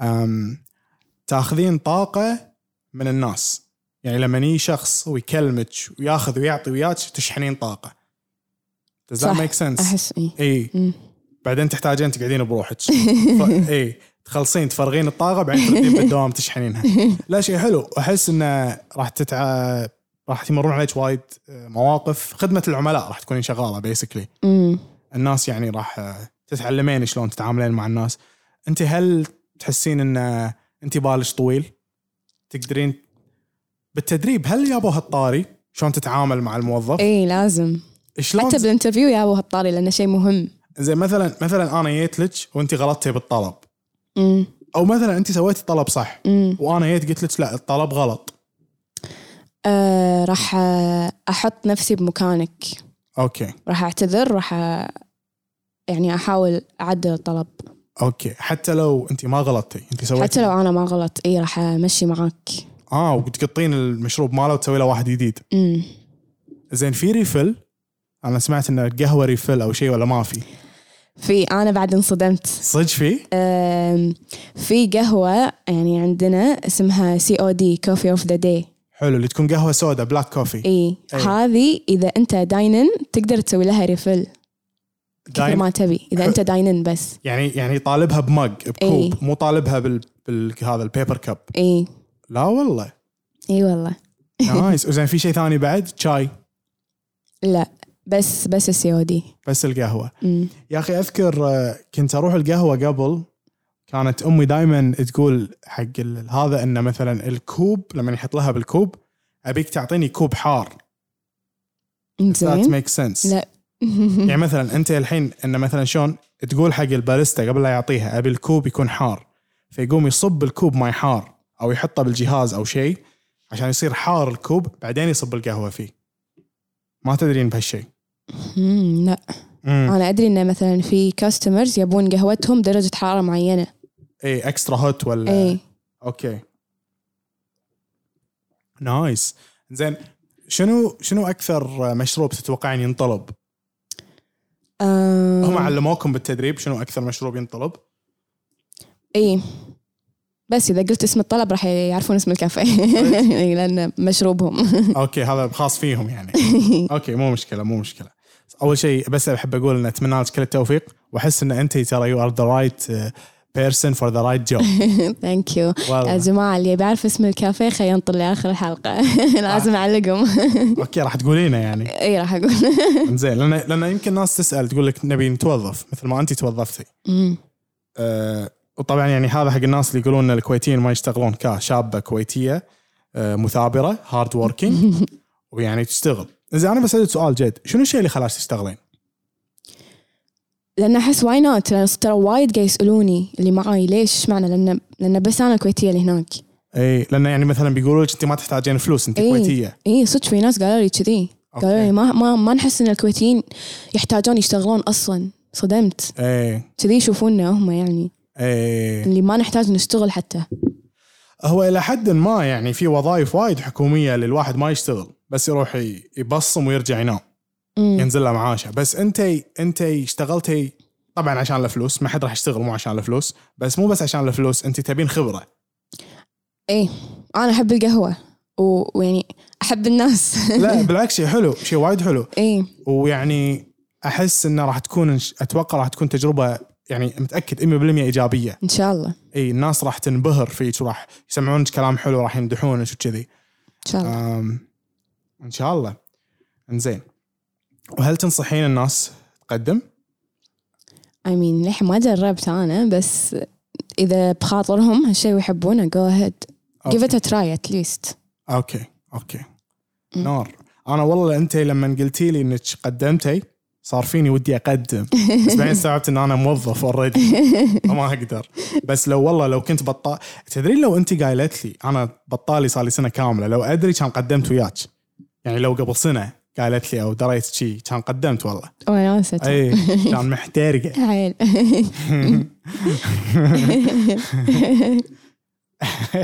Speaker 2: أم تاخذين طاقه من الناس يعني لما يجي شخص ويكلمك وياخذ ويعطي وياك تشحنين طاقه Does that
Speaker 3: صح.
Speaker 2: make sense؟
Speaker 3: احس اي
Speaker 2: اي
Speaker 3: أمم.
Speaker 2: بعدين تحتاجين تقعدين بروحك ف... اي تخلصين تفرغين الطاقه بعدين تردين بالدوام تشحنينها لا شيء حلو احس انه راح تتع راح يمرون عليك وايد آه، مواقف خدمه العملاء راح تكونين شغاله بيسكلي
Speaker 3: أمم.
Speaker 2: الناس يعني راح آه، تتعلمين شلون تتعاملين مع الناس انت هل تحسين ان آه، انت بالش طويل تقدرين بالتدريب هل جابوا هالطاري شلون تتعامل مع الموظف
Speaker 3: اي لازم
Speaker 2: شلون
Speaker 3: إيه، حتى بالانترفيو يابوا هالطاري لانه شيء مهم
Speaker 2: زي مثلا مثلا انا جيت لك وانت غلطتي بالطلب
Speaker 3: أمم.
Speaker 2: او مثلا انت سويتي طلب صح
Speaker 3: أمم.
Speaker 2: وانا جيت قلت لك لا الطلب غلط
Speaker 3: آه، راح آه، احط نفسي بمكانك
Speaker 2: اوكي
Speaker 3: راح اعتذر راح أ- يعني احاول اعدل الطلب
Speaker 2: اوكي حتى لو انت ما غلطتي انت سويتي
Speaker 3: حتى لو انا ما غلط اي راح امشي معاك
Speaker 2: اه وتقطين المشروب ماله وتسوي له واحد جديد
Speaker 3: امم
Speaker 2: زين في ريفل انا سمعت ان القهوه ريفل او شيء ولا ما في
Speaker 3: في انا بعد انصدمت
Speaker 2: صدق في
Speaker 3: آم، في قهوه يعني عندنا اسمها سي او دي كوفي اوف ذا داي
Speaker 2: حلو اللي تكون قهوه سوداء بلاك كوفي
Speaker 3: اي
Speaker 2: أي.
Speaker 3: هذه اذا انت داينن تقدر تسوي لها ريفل كثر
Speaker 2: داين-
Speaker 3: ما تبي اذا انت داينن بس
Speaker 2: يعني يعني طالبها بمج بكوب
Speaker 3: إيه.
Speaker 2: مو طالبها بال, بال... هذا البيبر كب
Speaker 3: اي
Speaker 2: لا والله
Speaker 3: اي والله
Speaker 2: نايس وزين في شيء ثاني بعد شاي
Speaker 3: لا بس بس السي او دي
Speaker 2: بس القهوه
Speaker 3: أمم.
Speaker 2: يا اخي اذكر آه، كنت اروح القهوه قبل كانت امي دائما تقول حق ال- هذا انه مثلا الكوب لما يحط لها بالكوب ابيك تعطيني كوب حار ذات
Speaker 3: زين
Speaker 2: ميك سنس
Speaker 3: لا
Speaker 2: يعني مثلا انت الحين انه مثلا شلون تقول حق الباريستا قبل لا يعطيها ابي الكوب يكون حار فيقوم يصب الكوب ماي حار او يحطه بالجهاز او شيء عشان يصير حار الكوب بعدين يصب القهوه فيه ما تدرين بهالشيء
Speaker 3: أمم، لا
Speaker 2: امم
Speaker 3: انا ادري انه مثلا في كاستمرز يبون قهوتهم درجه حراره معينه
Speaker 2: اي اكسترا هوت إيه، ولا
Speaker 3: اي
Speaker 2: اوكي نايس زين شنو شنو اكثر مشروب تتوقعين ينطلب؟
Speaker 3: آه،
Speaker 2: هم علموكم بالتدريب شنو اكثر مشروب ينطلب؟
Speaker 3: اي إيه. بس اذا قلت اسم الطلب راح يعرفون اسم الكافيه إي، لان مشروبهم
Speaker 2: اوكي هذا خاص فيهم يعني اوكي مو مشكله مو مشكله اول شيء بس احب اقول ان اتمنى لك كل التوفيق واحس ان انت ترى يو ار ذا رايت بيرسون فور ذا رايت جوب
Speaker 3: ثانك يو يا
Speaker 2: والله
Speaker 3: جماعه اللي بيعرف اسم الكافيه خليه ينطر لاخر الحلقه لازم اعلقهم
Speaker 2: اوكي راح تقولينه يعني
Speaker 3: اي راح اقول
Speaker 2: زين لان لان يمكن ناس تسال تقول لك نبي نتوظف مثل ما انت توظفتي
Speaker 3: أمم،
Speaker 2: أه، وطبعا يعني هذا حق الناس اللي يقولون ان الكويتيين ما يشتغلون كشابه كويتيه أه، مثابره هارد وركينج ويعني تشتغل زين انا بسالك سؤال جد شنو الشيء اللي خلاك تشتغلين؟
Speaker 3: لان احس واي نوت لان ترى وايد قاعد يسالوني اللي معاي ليش إيش معنى لان لان بس انا الكويتيه اللي هناك
Speaker 2: اي لانه يعني مثلا بيقولوا لك انت ما تحتاجين فلوس انت
Speaker 3: إي.
Speaker 2: كويتيه
Speaker 3: اي إيه، صدق في ناس قالوا لي كذي
Speaker 2: أوكي.
Speaker 3: قالوا لي ما ما ما نحس ان الكويتيين يحتاجون يشتغلون اصلا صدمت
Speaker 2: اي
Speaker 3: كذي يشوفونا هم يعني
Speaker 2: اي
Speaker 3: اللي ما نحتاج نشتغل حتى
Speaker 2: إيه. هو الى حد ما يعني في وظائف وايد حكوميه للواحد ما يشتغل بس يروح ي- يبصم ويرجع ينام
Speaker 3: امم
Speaker 2: ينزل له معاشه بس انت انت اشتغلتي طبعا عشان الفلوس ما حد راح يشتغل مو عشان الفلوس بس مو بس عشان الفلوس انت تبين خبره
Speaker 3: اي انا احب القهوه و- ويعني احب الناس إيه،
Speaker 2: لا بالعكس شيء حلو شيء وايد حلو
Speaker 3: اي
Speaker 2: ويعني احس انه راح تكون إن ش- اتوقع راح تكون تجربه يعني متاكد 100% ايجابيه
Speaker 3: ان شاء الله
Speaker 2: اي الناس راح تنبهر فيك وراح يسمعونك كلام حلو راح يمدحونك وكذي
Speaker 3: ان شاء الله
Speaker 2: أم، ان شاء الله انزين وهل تنصحين الناس تقدم؟
Speaker 3: اي مين للحين ما جربت انا بس اذا بخاطرهم هالشيء ويحبونه جو اهيد جيف ات تراي ات ليست
Speaker 2: اوكي اوكي
Speaker 3: مم.
Speaker 2: نار انا والله انت لما قلتي لي انك قدمتي صار فيني ودي اقدم بس بعدين استوعبت ان انا موظف اوريدي فما اقدر بس لو والله لو كنت بطال تدرين لو انت قايلت لي انا بطالي صار لي سنه كامله لو ادري كان قدمت وياك يعني لو قبل سنه قالت لي او دريت شي كان قدمت والله
Speaker 3: Oh, وناسة
Speaker 2: اي كان محترقه
Speaker 3: عيل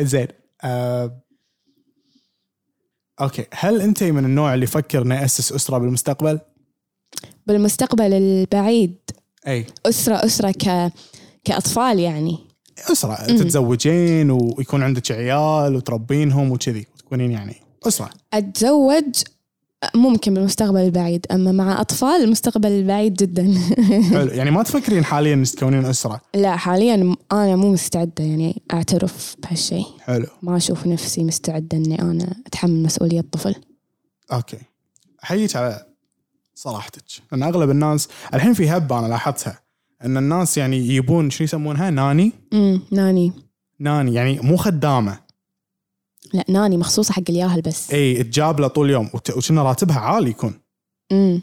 Speaker 2: زين آه، اوكي هل انت من النوع اللي يفكر انه اسس اسره بالمستقبل؟
Speaker 3: بالمستقبل البعيد
Speaker 2: اي
Speaker 3: اسره اسره ك كاطفال يعني
Speaker 2: اسره تتزوجين ويكون عندك عيال وتربينهم وكذي وتكونين يعني اسره
Speaker 3: اتزوج ممكن بالمستقبل البعيد اما مع اطفال المستقبل البعيد جدا
Speaker 2: حلو يعني ما تفكرين حاليا انك تكونين اسره
Speaker 3: لا حاليا م- انا مو مستعده يعني اعترف بهالشيء
Speaker 2: حلو
Speaker 3: ما اشوف نفسي مستعده اني انا اتحمل مسؤوليه طفل
Speaker 2: اوكي احييك على صراحتك لان اغلب الناس الحين في هبه انا لاحظتها ان الناس يعني يبون شو يسمونها ناني
Speaker 3: امم ناني
Speaker 2: ناني يعني مو خدامه
Speaker 3: لا ناني مخصوصه حق الياهل بس
Speaker 2: اي تجاب إيه، له طول اليوم وت- وكنا راتبها عالي يكون
Speaker 3: امم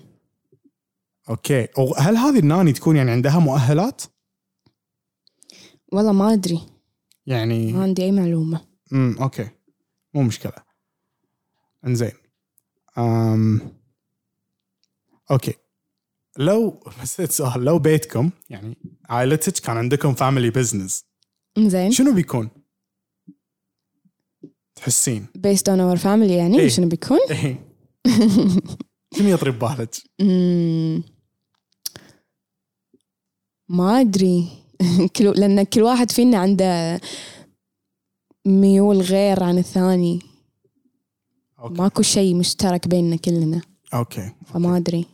Speaker 2: اوكي وهل هذه الناني تكون يعني عندها مؤهلات؟
Speaker 3: والله ما ادري ما
Speaker 2: يعني
Speaker 3: عندي اي معلومه
Speaker 2: امم اوكي مو مشكله انزين أم... اوكي لو بس سؤال لو بيتكم يعني عائلتك كان عندكم فاميلي بزنس
Speaker 3: زين
Speaker 2: شنو بيكون؟ تحسين؟
Speaker 3: بيست اون اور فاميلي يعني
Speaker 2: إيه.
Speaker 3: شنو بيكون
Speaker 2: إيه. شنو يطري ببالك؟
Speaker 3: أمم. ما ادري كل لان كل واحد فينا عنده ميول غير عن الثاني
Speaker 2: اوكي
Speaker 3: ماكو شيء مشترك بيننا كلنا
Speaker 2: اوكي
Speaker 3: فما ادري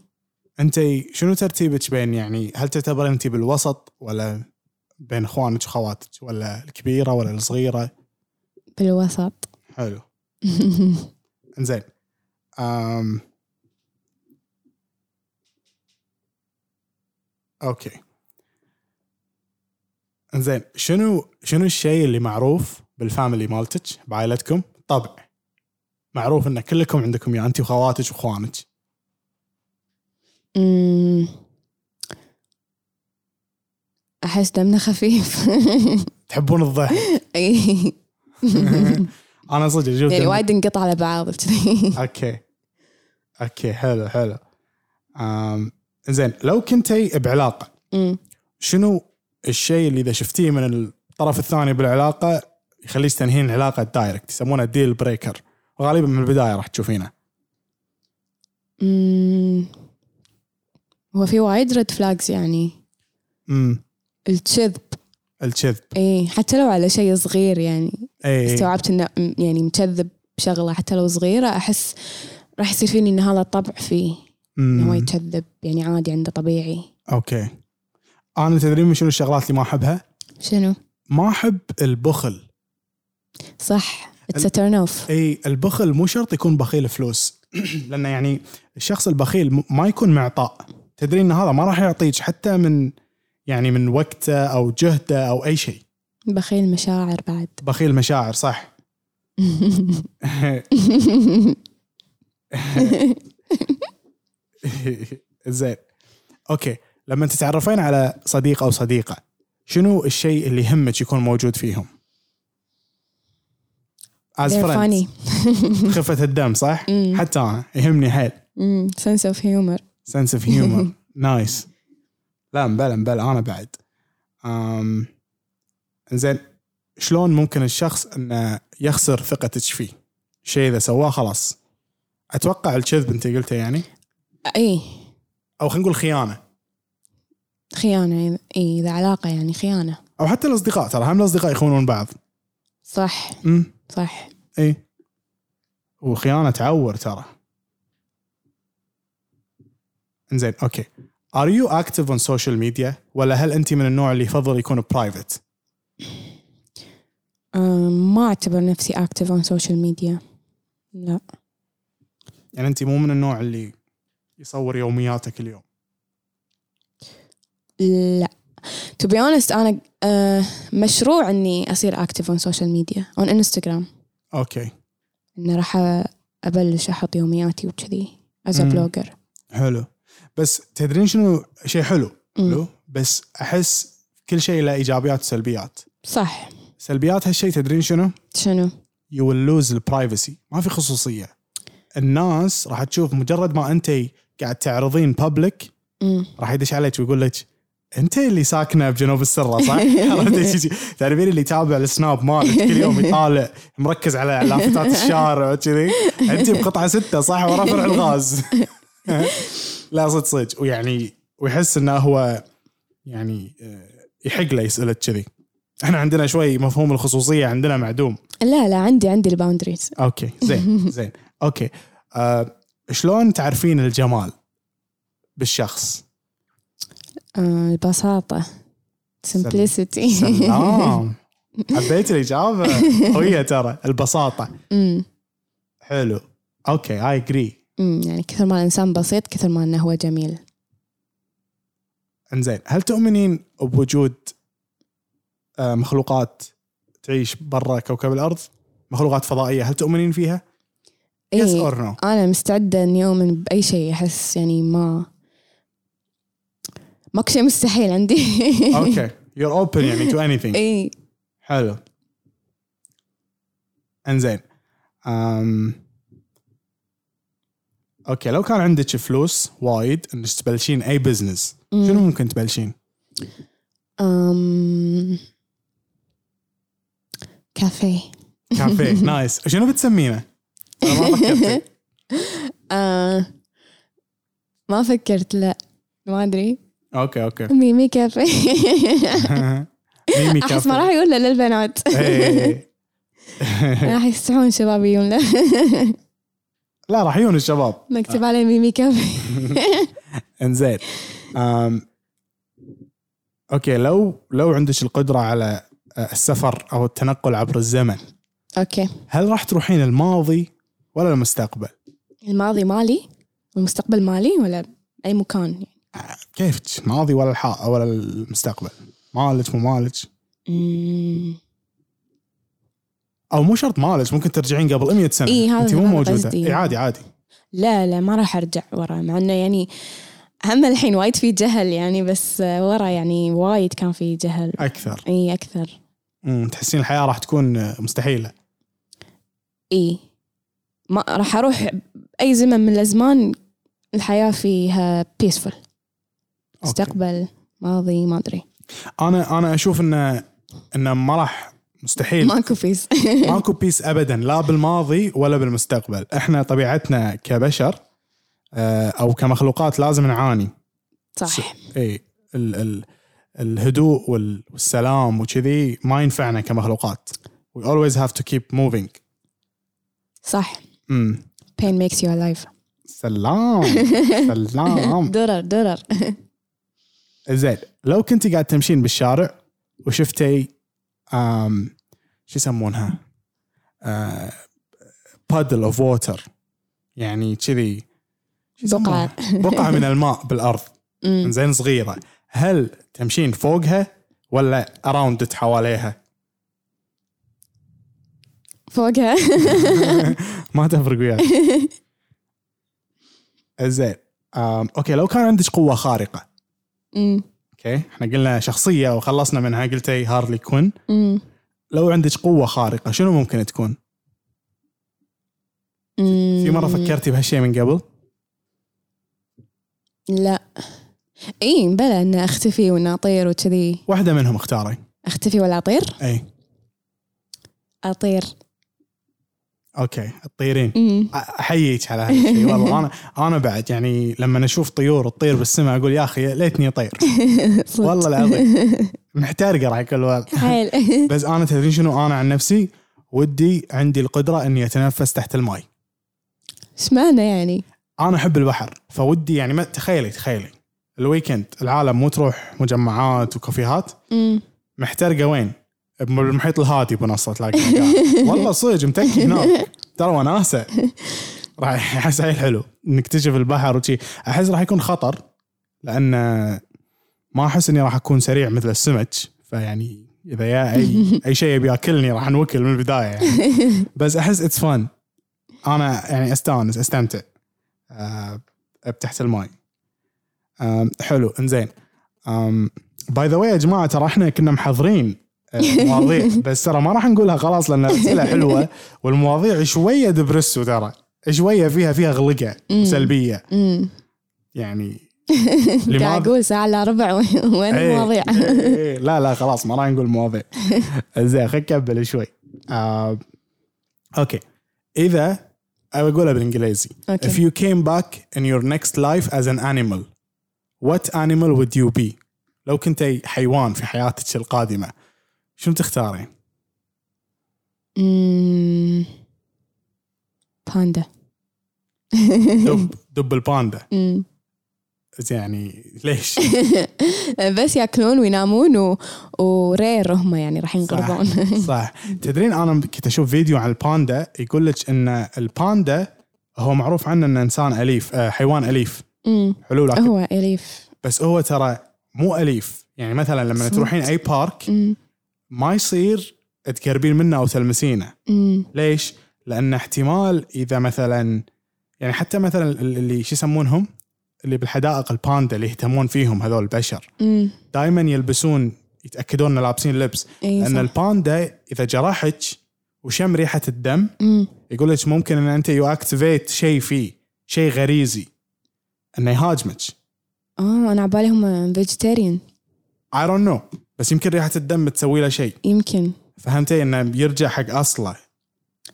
Speaker 2: انت شنو ترتيبك بين يعني هل تعتبر انت بالوسط ولا بين اخوانك وخواتك ولا الكبيره ولا الصغيره؟
Speaker 3: بالوسط
Speaker 2: حلو انزين أم... اوكي انزين شنو شنو الشيء اللي معروف بالفاميلي مالتك بعائلتكم؟ طبع معروف ان كلكم عندكم يعني يا انت وخواتك واخوانك
Speaker 3: أمم. احس دمنا خفيف
Speaker 2: تحبون الضحك
Speaker 3: إي.
Speaker 2: انا صدق شفت
Speaker 3: يعني
Speaker 2: إن-
Speaker 3: وايد نقطع على بعض كذي
Speaker 2: اوكي اوكي حلو حلو أم... زين لو كنتي بعلاقه
Speaker 3: أمم.
Speaker 2: شنو الشيء اللي اذا شفتيه من الطرف الثاني بالعلاقه يخليك تنهين العلاقه دايركت يسمونه ديل بريكر وغالبا من البدايه راح تشوفينه
Speaker 3: أمم. هو في وايد ريد فلاجز يعني
Speaker 2: امم
Speaker 3: الكذب
Speaker 2: الكذب
Speaker 3: ايه حتى لو على شيء صغير يعني
Speaker 2: اي
Speaker 3: استوعبت انه م- يعني مكذب شغله حتى لو صغيره احس راح يصير فيني ان هذا طبع فيه انه هو
Speaker 2: أمم.
Speaker 3: يكذب يعني عادي عنده طبيعي
Speaker 2: اوكي انا تدري شنو الشغلات اللي ما احبها؟
Speaker 3: شنو
Speaker 2: ما احب البخل
Speaker 3: صح اتس تيرن اوف
Speaker 2: اي البخل مو شرط يكون بخيل فلوس لانه يعني الشخص البخيل م- ما يكون معطاء تدري ان هذا ما راح يعطيك حتى من يعني من وقته او جهده او اي شيء
Speaker 3: بخيل مشاعر بعد
Speaker 2: بخيل مشاعر صح زين اوكي لما تتعرفين على صديق او صديقه شنو الشيء اللي يهمك يكون موجود فيهم؟ As
Speaker 3: They're
Speaker 2: friends
Speaker 3: funny Mm,
Speaker 2: خفة الدم صح؟
Speaker 3: مم.
Speaker 2: حتى انا يهمني حيل
Speaker 3: سنس اوف هيومر
Speaker 2: سنس اوف هيومر نايس لا مبلا مبلا انا بعد أم... زين شلون ممكن الشخص انه يخسر ثقتك فيه؟ شيء اذا سواه خلاص اتوقع الكذب انت قلته يعني
Speaker 3: اي
Speaker 2: او خلينا نقول خيانه
Speaker 3: خيانه اي اذا علاقه يعني خيانه
Speaker 2: او حتى الاصدقاء ترى هم الاصدقاء يخونون بعض إيه.
Speaker 3: صح
Speaker 2: امم
Speaker 3: صح
Speaker 2: اي وخيانه تعور ترى انزين اوكي ار يو اكتف اون سوشيال ميديا ولا هل انت من النوع اللي يفضل يكون برايفت؟
Speaker 3: أم، ما أعتبر نفسي أكتف أون سوشيال ميديا لا
Speaker 2: يعني انت مو من النوع اللي يصور يومياتك اليوم
Speaker 3: لا تو بي اونست انا آه، مشروع اني اصير اكتف اون سوشيال ميديا اون انستغرام
Speaker 2: اوكي
Speaker 3: انه راح ابلش احط يومياتي وكذي از
Speaker 2: مم.
Speaker 3: بلوجر
Speaker 2: حلو بس تدرين شنو شيء حلو
Speaker 3: مم.
Speaker 2: حلو بس احس كل شيء له ايجابيات وسلبيات
Speaker 3: صح
Speaker 2: سلبيات هالشيء تدرين شنو؟
Speaker 3: شنو
Speaker 2: يو ويل لوز البرايفسي ما في خصوصيه الناس راح تشوف مجرد ما انت قاعد تعرضين بابليك
Speaker 3: مم.
Speaker 2: راح يدش عليك ويقول لك انت اللي ساكنه بجنوب السره صح؟ عرفتي شي- شي- تعرفين اللي يتابع السناب مالك كل يوم يطالع مركز على لافتات الشارع وكذي انت بقطعه سته صح ورا فرع الغاز لا صدق صدق ويعني ويحس انه هو يعني آه، يحق له يسالك كذي احنا عندنا شوي مفهوم الخصوصيه عندنا معدوم
Speaker 3: لا لا عندي عندي الباوندريز
Speaker 2: اوكي زين زين اوكي آه شلون تعرفين الجمال بالشخص؟
Speaker 3: آه البساطة سمبلسيتي
Speaker 2: سلام حبيت الاجابه قويه ترى البساطه حلو اوكي اي اجري
Speaker 3: يعني كثر ما الانسان بسيط كثر ما انه هو جميل
Speaker 2: انزين هل تؤمنين بوجود آه، مخلوقات تعيش برا كوكب الارض؟ مخلوقات فضائيه هل تؤمنين فيها؟ يس
Speaker 3: إيه،
Speaker 2: اور نو
Speaker 3: انا مستعده اني اؤمن باي شيء احس يعني ما ماكو شيء مستحيل عندي إيه.
Speaker 2: اوكي يور اوبن يعني تو اني
Speaker 3: اي
Speaker 2: حلو انزين أم... اوكي لو كان عندك فلوس وايد انك تبلشين اي بزنس شنو ممكن تبلشين؟
Speaker 3: أم... كافيه
Speaker 2: كافيه نايس شنو بتسمينه؟ أنا ما فكرت.
Speaker 3: آه... ما فكرت لا ما ادري
Speaker 2: اوكي اوكي
Speaker 3: ميمي كافيه
Speaker 2: ميمي
Speaker 3: احس ما راح
Speaker 2: كافيه
Speaker 3: يقول له للبنات
Speaker 2: إيه.
Speaker 3: راح يستحون شباب يجون له
Speaker 2: لا راح يجون الشباب
Speaker 3: نكتب عليه ميمي كافيه
Speaker 2: انزين أم... اوكي Um, لو لو عندك القدره على آه، السفر او التنقل عبر الزمن
Speaker 3: اوكي
Speaker 2: هل راح تروحين الماضي ولا المستقبل؟
Speaker 3: الماضي مالي والمستقبل مالي ولا اي مكان
Speaker 2: كيفك الماضي ولا الحق ولا المستقبل؟ مالك مو مالك
Speaker 3: مم.
Speaker 2: او مو شرط مالك ممكن ترجعين قبل 100 سنه
Speaker 3: إي، إيه، هذا-
Speaker 2: انت مو
Speaker 3: هذا
Speaker 2: موجوده
Speaker 3: قصدي.
Speaker 2: اي عادي عادي
Speaker 3: لا لا ما راح ارجع ورا مع انه يعني هم الحين وايد في جهل يعني بس آه، ورا يعني وايد كان في جهل
Speaker 2: اكثر
Speaker 3: اي اكثر
Speaker 2: أمم، تحسين الحياه راح تكون مستحيله
Speaker 3: اي ما راح اروح اي زمن من الازمان الحياه فيها بيسفول
Speaker 2: أوكي.
Speaker 3: مستقبل ماضي ما ادري
Speaker 2: انا انا اشوف انه انه ما راح مستحيل
Speaker 3: ماكو فيس
Speaker 2: ماكو بيس ابدا لا بالماضي ولا بالمستقبل احنا طبيعتنا كبشر آه، او كمخلوقات لازم نعاني
Speaker 3: صح
Speaker 2: اي ال ال الهدوء وال- والسلام وكذي ما ينفعنا كمخلوقات we always have to keep moving
Speaker 3: صح
Speaker 2: امم
Speaker 3: pain makes you alive
Speaker 2: سلام سلام
Speaker 3: درر درر
Speaker 2: زين لو كنت قاعد تمشين بالشارع وشفتي أم شو يسمونها آه، بادل اوف ووتر يعني كذي شو يسمونها؟ بقعه من الماء بالارض
Speaker 3: أمم.
Speaker 2: زين صغيره هل تمشين فوقها ولا اراوندت حواليها؟
Speaker 3: فوقها
Speaker 2: ما تفرق وياك زين أم، اوكي لو كان عندك قوه خارقه
Speaker 3: أمم.
Speaker 2: اوكي احنا قلنا شخصيه وخلصنا منها قلتي هارلي كوين
Speaker 3: أمم.
Speaker 2: لو عندك قوه خارقه شنو ممكن تكون في مره فكرتي بهالشيء من قبل
Speaker 3: لا اي بلا ان اختفي وان اطير وكذي
Speaker 2: واحده منهم اختاري
Speaker 3: اختفي ولا اطير
Speaker 2: اي
Speaker 3: اطير
Speaker 2: اوكي تطيرين
Speaker 3: امم
Speaker 2: أ- احييك على هالشيء والله انا انا بعد يعني لما اشوف طيور تطير بالسماء اقول يا اخي يا ليتني اطير
Speaker 3: صدق.
Speaker 2: والله العظيم محترقه راح يكون الوضع
Speaker 3: حيل
Speaker 2: بس انا تدري شنو انا عن نفسي ودي عندي القدره اني اتنفس تحت الماي
Speaker 3: ايش معنى يعني
Speaker 2: انا احب البحر فودي يعني ما تخيلي تخيلي الويكند العالم مو تروح مجمعات وكافيهات
Speaker 3: أمم.
Speaker 2: محترقه وين؟ بالمحيط الهادي بنص تلاقي مكان. والله صدق متكي هناك ترى وناسه راح احس حيل حلو نكتشف البحر وشي احس راح يكون خطر لان ما احس اني راح اكون سريع مثل السمك فيعني اذا يا اي اي شيء يبي ياكلني راح انوكل من البدايه يعني. بس احس اتس فان انا يعني استانس استمتع أه تحت الماي أم، حلو انزين باي ذا واي يا جماعه ترى احنا كنا محضرين مواضيع بس ترى ما راح نقولها خلاص لان الاسئله حلوه والمواضيع شويه دبرسو ترى شويه فيها فيها غلقه
Speaker 3: مم.
Speaker 2: سلبيه
Speaker 3: أمم.
Speaker 2: يعني
Speaker 3: قاعد اقول ساعه الا ربع وين وين
Speaker 2: إيه،
Speaker 3: المواضيع
Speaker 2: إيه، إيه، لا لا خلاص ما راح نقول مواضيع زين خلينا نكمل شوي آه، اوكي اذا أبى اقولها بالانجليزي
Speaker 3: أوكي.
Speaker 2: if you came back in your next life as an animal what animal would you be لو كنت حيوان في حياتك القادمه شنو تختارين
Speaker 3: أمم. باندا
Speaker 2: دب دب الباندا
Speaker 3: أمم.
Speaker 2: يعني ليش
Speaker 3: بس ياكلون وينامون و... ورير هم يعني راح
Speaker 2: صح,
Speaker 3: ينقرضون
Speaker 2: صح تدرين انا كنت اشوف فيديو عن الباندا يقول لك ان الباندا هو معروف عنه انه انسان اليف آه، حيوان اليف
Speaker 3: أمم.
Speaker 2: حلو لكن
Speaker 3: هو اليف
Speaker 2: بس هو ترى مو اليف يعني مثلا لما
Speaker 3: صمت.
Speaker 2: تروحين اي بارك
Speaker 3: أمم.
Speaker 2: ما يصير تقربين منه او تلمسينه
Speaker 3: أمم.
Speaker 2: ليش لان احتمال اذا مثلا يعني حتى مثلا اللي شو يسمونهم اللي بالحدائق الباندا اللي يهتمون فيهم هذول البشر
Speaker 3: أمم.
Speaker 2: دائما يلبسون يتاكدون ان لابسين لبس
Speaker 3: إي
Speaker 2: لان
Speaker 3: إيه، صح.
Speaker 2: الباندا اذا جرحك وشم ريحه الدم
Speaker 3: أمم.
Speaker 2: يقول لك ممكن ان انت يو اكتيفيت شيء فيه شيء غريزي انه يهاجمك
Speaker 3: اه انا عبالي هم فيجيتيريان
Speaker 2: اي دونت نو بس يمكن ريحه الدم تسوي له شيء
Speaker 3: يمكن
Speaker 2: فهمتي انه يرجع حق اصله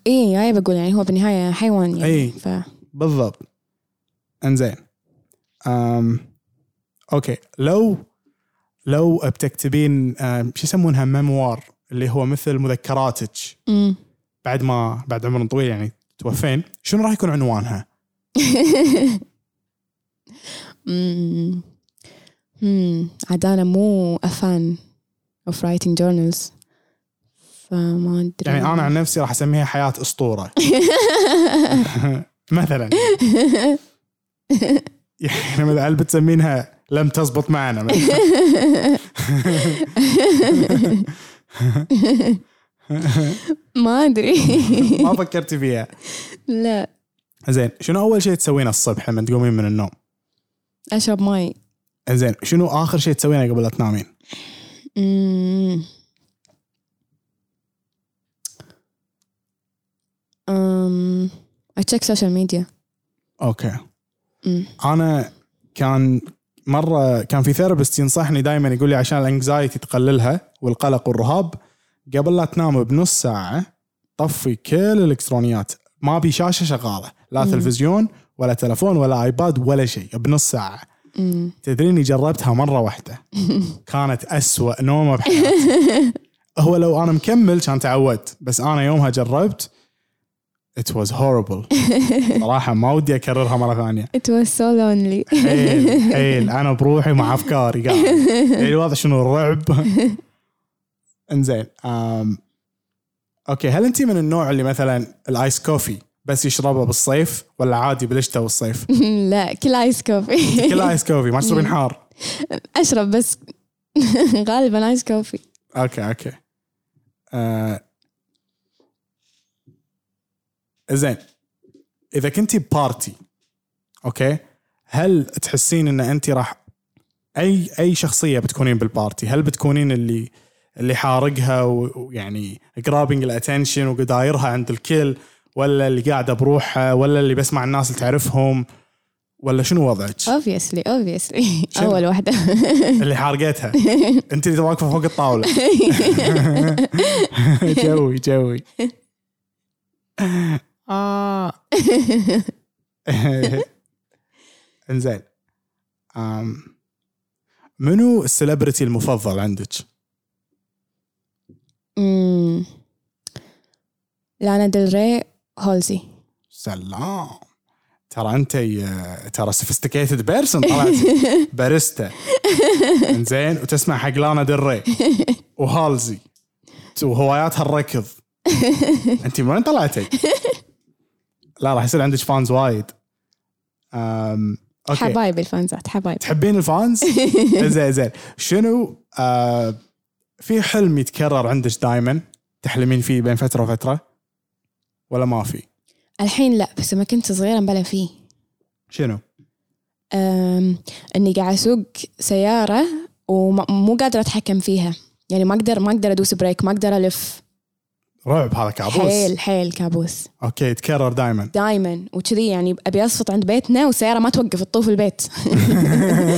Speaker 3: اي هاي بقول يعني هو بالنهايه حيوان يعني
Speaker 2: إي.
Speaker 3: ف
Speaker 2: بالضبط انزين أم. اوكي لو لو بتكتبين أم، شو يسمونها ميموار اللي هو مثل مذكراتك
Speaker 3: أمم.
Speaker 2: بعد ما بعد عمر طويل يعني توفين شنو راح يكون عنوانها؟
Speaker 3: أمم. أمم. عاد انا مو افان اوف رايتنج جورنالز فما ادري
Speaker 2: يعني انا عن نفسي راح اسميها حياه اسطوره مثلا يعني مثلا هل بتسمينها لم تزبط معنا مثلاً.
Speaker 3: ما ادري
Speaker 2: ما فكرتي فيها
Speaker 3: لا
Speaker 2: زين شنو اول شيء تسوينه الصبح لما تقومين من النوم؟
Speaker 3: اشرب ماي
Speaker 2: زين شنو اخر شيء تسوينه قبل لا تنامين؟
Speaker 3: أمم. أمم. اتشيك سوشيال ميديا
Speaker 2: اوكي
Speaker 3: أمم.
Speaker 2: انا كان مره كان في ثيرابيست ينصحني دائما يقول لي عشان الانكزايتي تقللها والقلق والرهاب قبل لا تنام بنص ساعه طفي كل الالكترونيات ما ابي شاشه شغاله لا
Speaker 3: مم.
Speaker 2: تلفزيون ولا تلفون ولا ايباد ولا شيء بنص ساعه
Speaker 3: أمم.
Speaker 2: تدريني جربتها مره واحده كانت أسوأ نومه بحياتي هو لو انا مكمل كان تعودت بس انا يومها جربت it was horrible صراحه ما ودي اكررها مره ثانيه
Speaker 3: It was so lonely.
Speaker 2: حيل حيل انا بروحي مع افكاري قاعد يعني واضح شنو الرعب انزين أم. اوكي هل انت من النوع اللي مثلا الايس كوفي بس يشربه بالصيف ولا عادي بالشتاء والصيف؟
Speaker 3: لا كل ايس كوفي
Speaker 2: كل ايس كوفي ما تشربين حار
Speaker 3: اشرب بس غالبا ايس كوفي
Speaker 2: اوكي اوكي آه. زين اذا كنتي بارتي اوكي هل تحسين ان انت راح اي اي شخصيه بتكونين بالبارتي هل بتكونين اللي اللي حارقها و- ويعني جرابنج الاتنشن وقدايرها عند الكل ولا اللي قاعده بروحها ولا اللي بس مع الناس اللي تعرفهم ولا شنو وضعك؟
Speaker 3: obviously obviously
Speaker 2: شنو؟
Speaker 3: اول واحده
Speaker 2: اللي حارقتها انت اللي واقفه فوق الطاوله جوي جوي اه انزين أم، منو السليبرتي المفضل عندك؟
Speaker 3: أمم. لانا ديل ري هولزي
Speaker 2: سلام ترى انت يا- ترى سوفيستيكيتد بيرسون طلعت باريستا زين وتسمع حق لانا دري وهالزي وهواياتها الركض انت من وين طلعتي؟ لا راح يصير عندك فانز وايد أم، اوكي
Speaker 3: حبايبي الفانزات حبايبي
Speaker 2: تحبين الفانز؟ زين زين شنو آه في حلم يتكرر عندك دائما تحلمين فيه بين فتره وفتره ولا ما في؟
Speaker 3: الحين لا بس لما كنت صغيرة بلا فيه
Speaker 2: شنو؟
Speaker 3: أم، اني قاعد اسوق سياره ومو قادره اتحكم فيها يعني ما اقدر ما اقدر ادوس بريك ما اقدر الف
Speaker 2: رعب هذا كابوس
Speaker 3: حيل حيل كابوس
Speaker 2: اوكي يتكرر دائما
Speaker 3: دائما وكذي يعني ابي اصفط عند بيتنا والسياره ما توقف تطوف البيت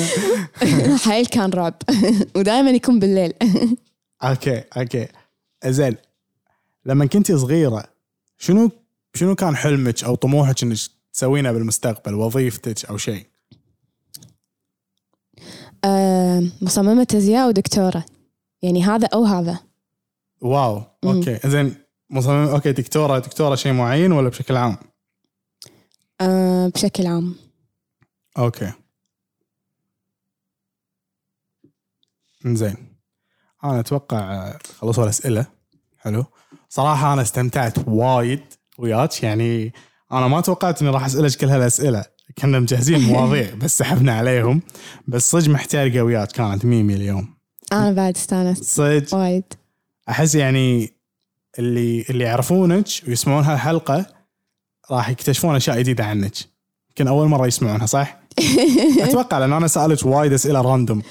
Speaker 3: حيل كان رعب ودائما يكون بالليل
Speaker 2: اوكي اوكي زين لما كنتي صغيره شنو شنو كان حلمك او طموحك انك تسوينه بالمستقبل وظيفتك او شيء؟
Speaker 3: أم، مصممه ازياء ودكتوره يعني هذا او هذا
Speaker 2: واو اوكي زين مصمم اوكي دكتوره دكتوره شيء معين ولا بشكل عام؟
Speaker 3: أم، آه، بشكل عام
Speaker 2: اوكي زين انا اتوقع آه، خلصوا الاسئله حلو صراحه انا استمتعت وايد وياك يعني انا ما توقعت اني راح اسالك كل هالاسئله كنا مجهزين مواضيع بس سحبنا عليهم بس صدق محترقه وياك كانت ميمي اليوم
Speaker 3: انا بعد استانست
Speaker 2: صدق
Speaker 3: وايد
Speaker 2: احس يعني اللي اللي يعرفونك ويسمعون هالحلقه راح يكتشفون اشياء جديده عنك يمكن اول مره يسمعونها صح؟ اتوقع لان انا سالت وايد اسئله راندوم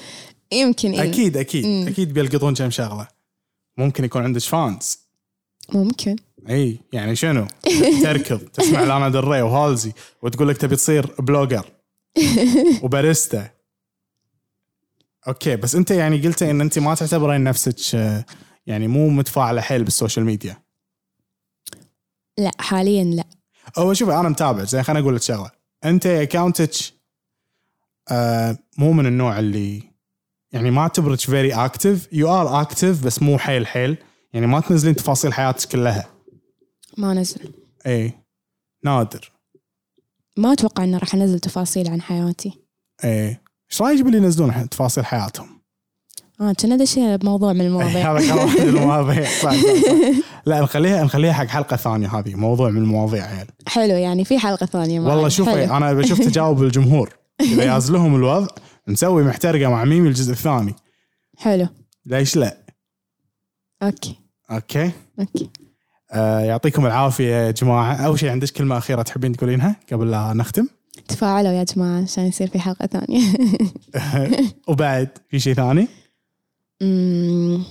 Speaker 3: يمكن إيه.
Speaker 2: اكيد اكيد
Speaker 3: مم.
Speaker 2: اكيد بيلقطون كم شغله ممكن يكون عندك فانز
Speaker 3: ممكن
Speaker 2: اي يعني شنو؟ تركض تسمع لانا دري وهالزي وتقول لك تبي تصير بلوجر وباريستا اوكي بس انت يعني قلتي ان انت ما تعتبرين نفسك آه، يعني مو متفاعله حيل بالسوشيال ميديا
Speaker 3: لا حاليا لا
Speaker 2: هو شوف انا متابع زين خليني اقول لك شغله انت اكونتك آه مو من النوع اللي يعني ما اعتبرك فيري اكتف يو ار اكتف بس مو حيل حيل يعني ما تنزلين تفاصيل حياتك كلها
Speaker 3: ما نزل
Speaker 2: اي نادر
Speaker 3: ما اتوقع انه راح انزل تفاصيل عن حياتي
Speaker 2: اي ايش رايك باللي ينزلون ح- تفاصيل حياتهم؟
Speaker 3: اه كنا دشينا بموضوع من
Speaker 2: إي،
Speaker 3: المواضيع
Speaker 2: هذا كان واحد من المواضيع صح، صح، صح. لا نخليها نخليها حق حلقه ثانيه هذه موضوع من المواضيع يعني
Speaker 3: حلو يعني في حلقه ثانيه معنا.
Speaker 2: والله شوفي آه.
Speaker 3: حلو.
Speaker 2: انا بشوف تجاوب الجمهور اذا يازلهم الوضع نسوي محترقه مع ميمي الجزء الثاني
Speaker 3: حلو
Speaker 2: ليش لا؟
Speaker 3: اوكي
Speaker 2: اوكي
Speaker 3: اوكي
Speaker 2: آه يعطيكم العافيه يا جماعه اول شيء عندك كلمه اخيره تحبين تقولينها قبل لا نختم
Speaker 3: تفاعلوا يا جماعه عشان يصير في حلقه ثانيه
Speaker 2: وبعد في شيء ثاني
Speaker 3: أمم.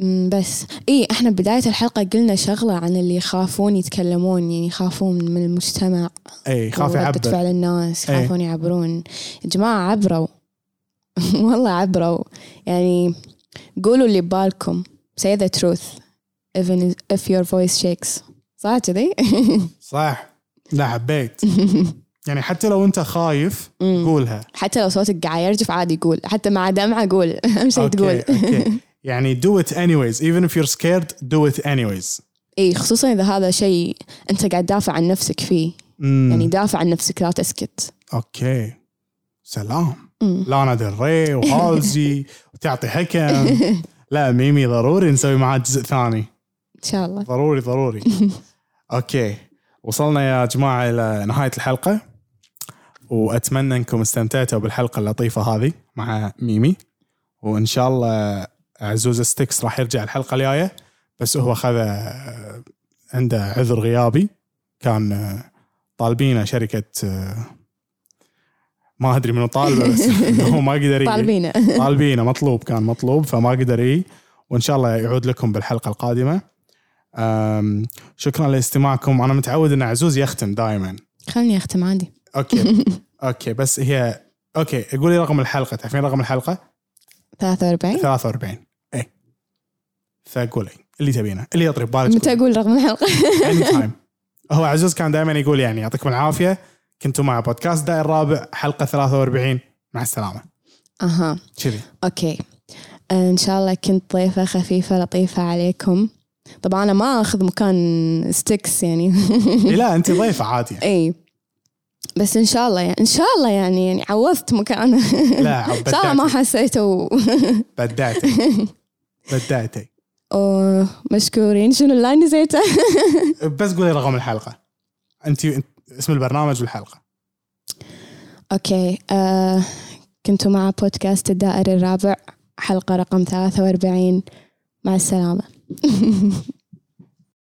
Speaker 3: أمم، بس اي احنا بدايه الحلقه قلنا شغله عن اللي يخافون يتكلمون يعني يخافون من المجتمع
Speaker 2: اي خاف
Speaker 3: ورده
Speaker 2: يعبر
Speaker 3: فعل الناس
Speaker 2: إيه.
Speaker 3: يخافون يعبرون يا جماعه عبروا والله عبروا يعني قولوا اللي ببالكم say the truth even if your voice shakes صح كذي؟
Speaker 2: صح لا حبيت يعني حتى لو انت خايف
Speaker 3: أمم.
Speaker 2: قولها
Speaker 3: حتى لو صوتك قاعد يرجف عادي قول حتى مع دمعه قول اهم شيء تقول
Speaker 2: اوكي يعني do it anyways even if you're scared do it anyways
Speaker 3: اي خصوصا اذا هذا شيء انت قاعد دافع عن نفسك فيه يعني دافع عن نفسك لا تسكت
Speaker 2: اوكي سلام
Speaker 3: مم.
Speaker 2: لانا دري وهالزي وتعطي حكم لا ميمي ضروري نسوي معاه جزء ثاني
Speaker 3: ان شاء الله
Speaker 2: ضروري ضروري اوكي وصلنا يا جماعه الى نهايه الحلقه واتمنى انكم استمتعتوا بالحلقه اللطيفه هذه مع ميمي وان شاء الله عزوز ستيكس راح يرجع الحلقه الجايه بس هو خذ آه، عنده عذر غيابي كان آه، طالبينه شركه آه، ما ادري منو طالبه بس هو ما قدر يجي.
Speaker 3: طالبينه
Speaker 2: طالبينه مطلوب كان مطلوب فما قدر يجي وان شاء الله يعود لكم بالحلقه القادمه أم، شكرا لاستماعكم انا متعود ان عزوز يختم دائما
Speaker 3: خلني اختم عادي
Speaker 2: اوكي اوكي بس هي اوكي قولي رقم الحلقه تعرفين رقم الحلقه
Speaker 3: 43
Speaker 2: 43 اي إيه. فقولي اللي تبينه اللي يطري ببالك
Speaker 3: متى اقول رقم الحلقه؟
Speaker 2: اني تايم هو عزوز كان دائما يقول يعني يعطيكم العافيه كنتوا مع بودكاست داير الرابع حلقه 43 مع السلامه
Speaker 3: اها
Speaker 2: كذي
Speaker 3: اوكي ان شاء الله كنت ضيفه خفيفه لطيفه عليكم طبعا انا ما اخذ مكان ستيكس يعني
Speaker 2: إيه لا انت ضيفه عادي يعني.
Speaker 3: اي بس ان شاء الله يعني ان شاء الله يعني يعني عوضت مكانه
Speaker 2: لا
Speaker 3: ان شاء الله ما
Speaker 2: عب-
Speaker 3: حسيته و-
Speaker 2: بدعتي بدعتي بدعتي
Speaker 3: أوه، مشكورين شنو اللاين زيته
Speaker 2: بس قولي رقم الحلقه انت أنت- اسم البرنامج والحلقه
Speaker 3: اوكي آه كنتوا مع بودكاست الدائري الرابع حلقة رقم 43 مع السلامة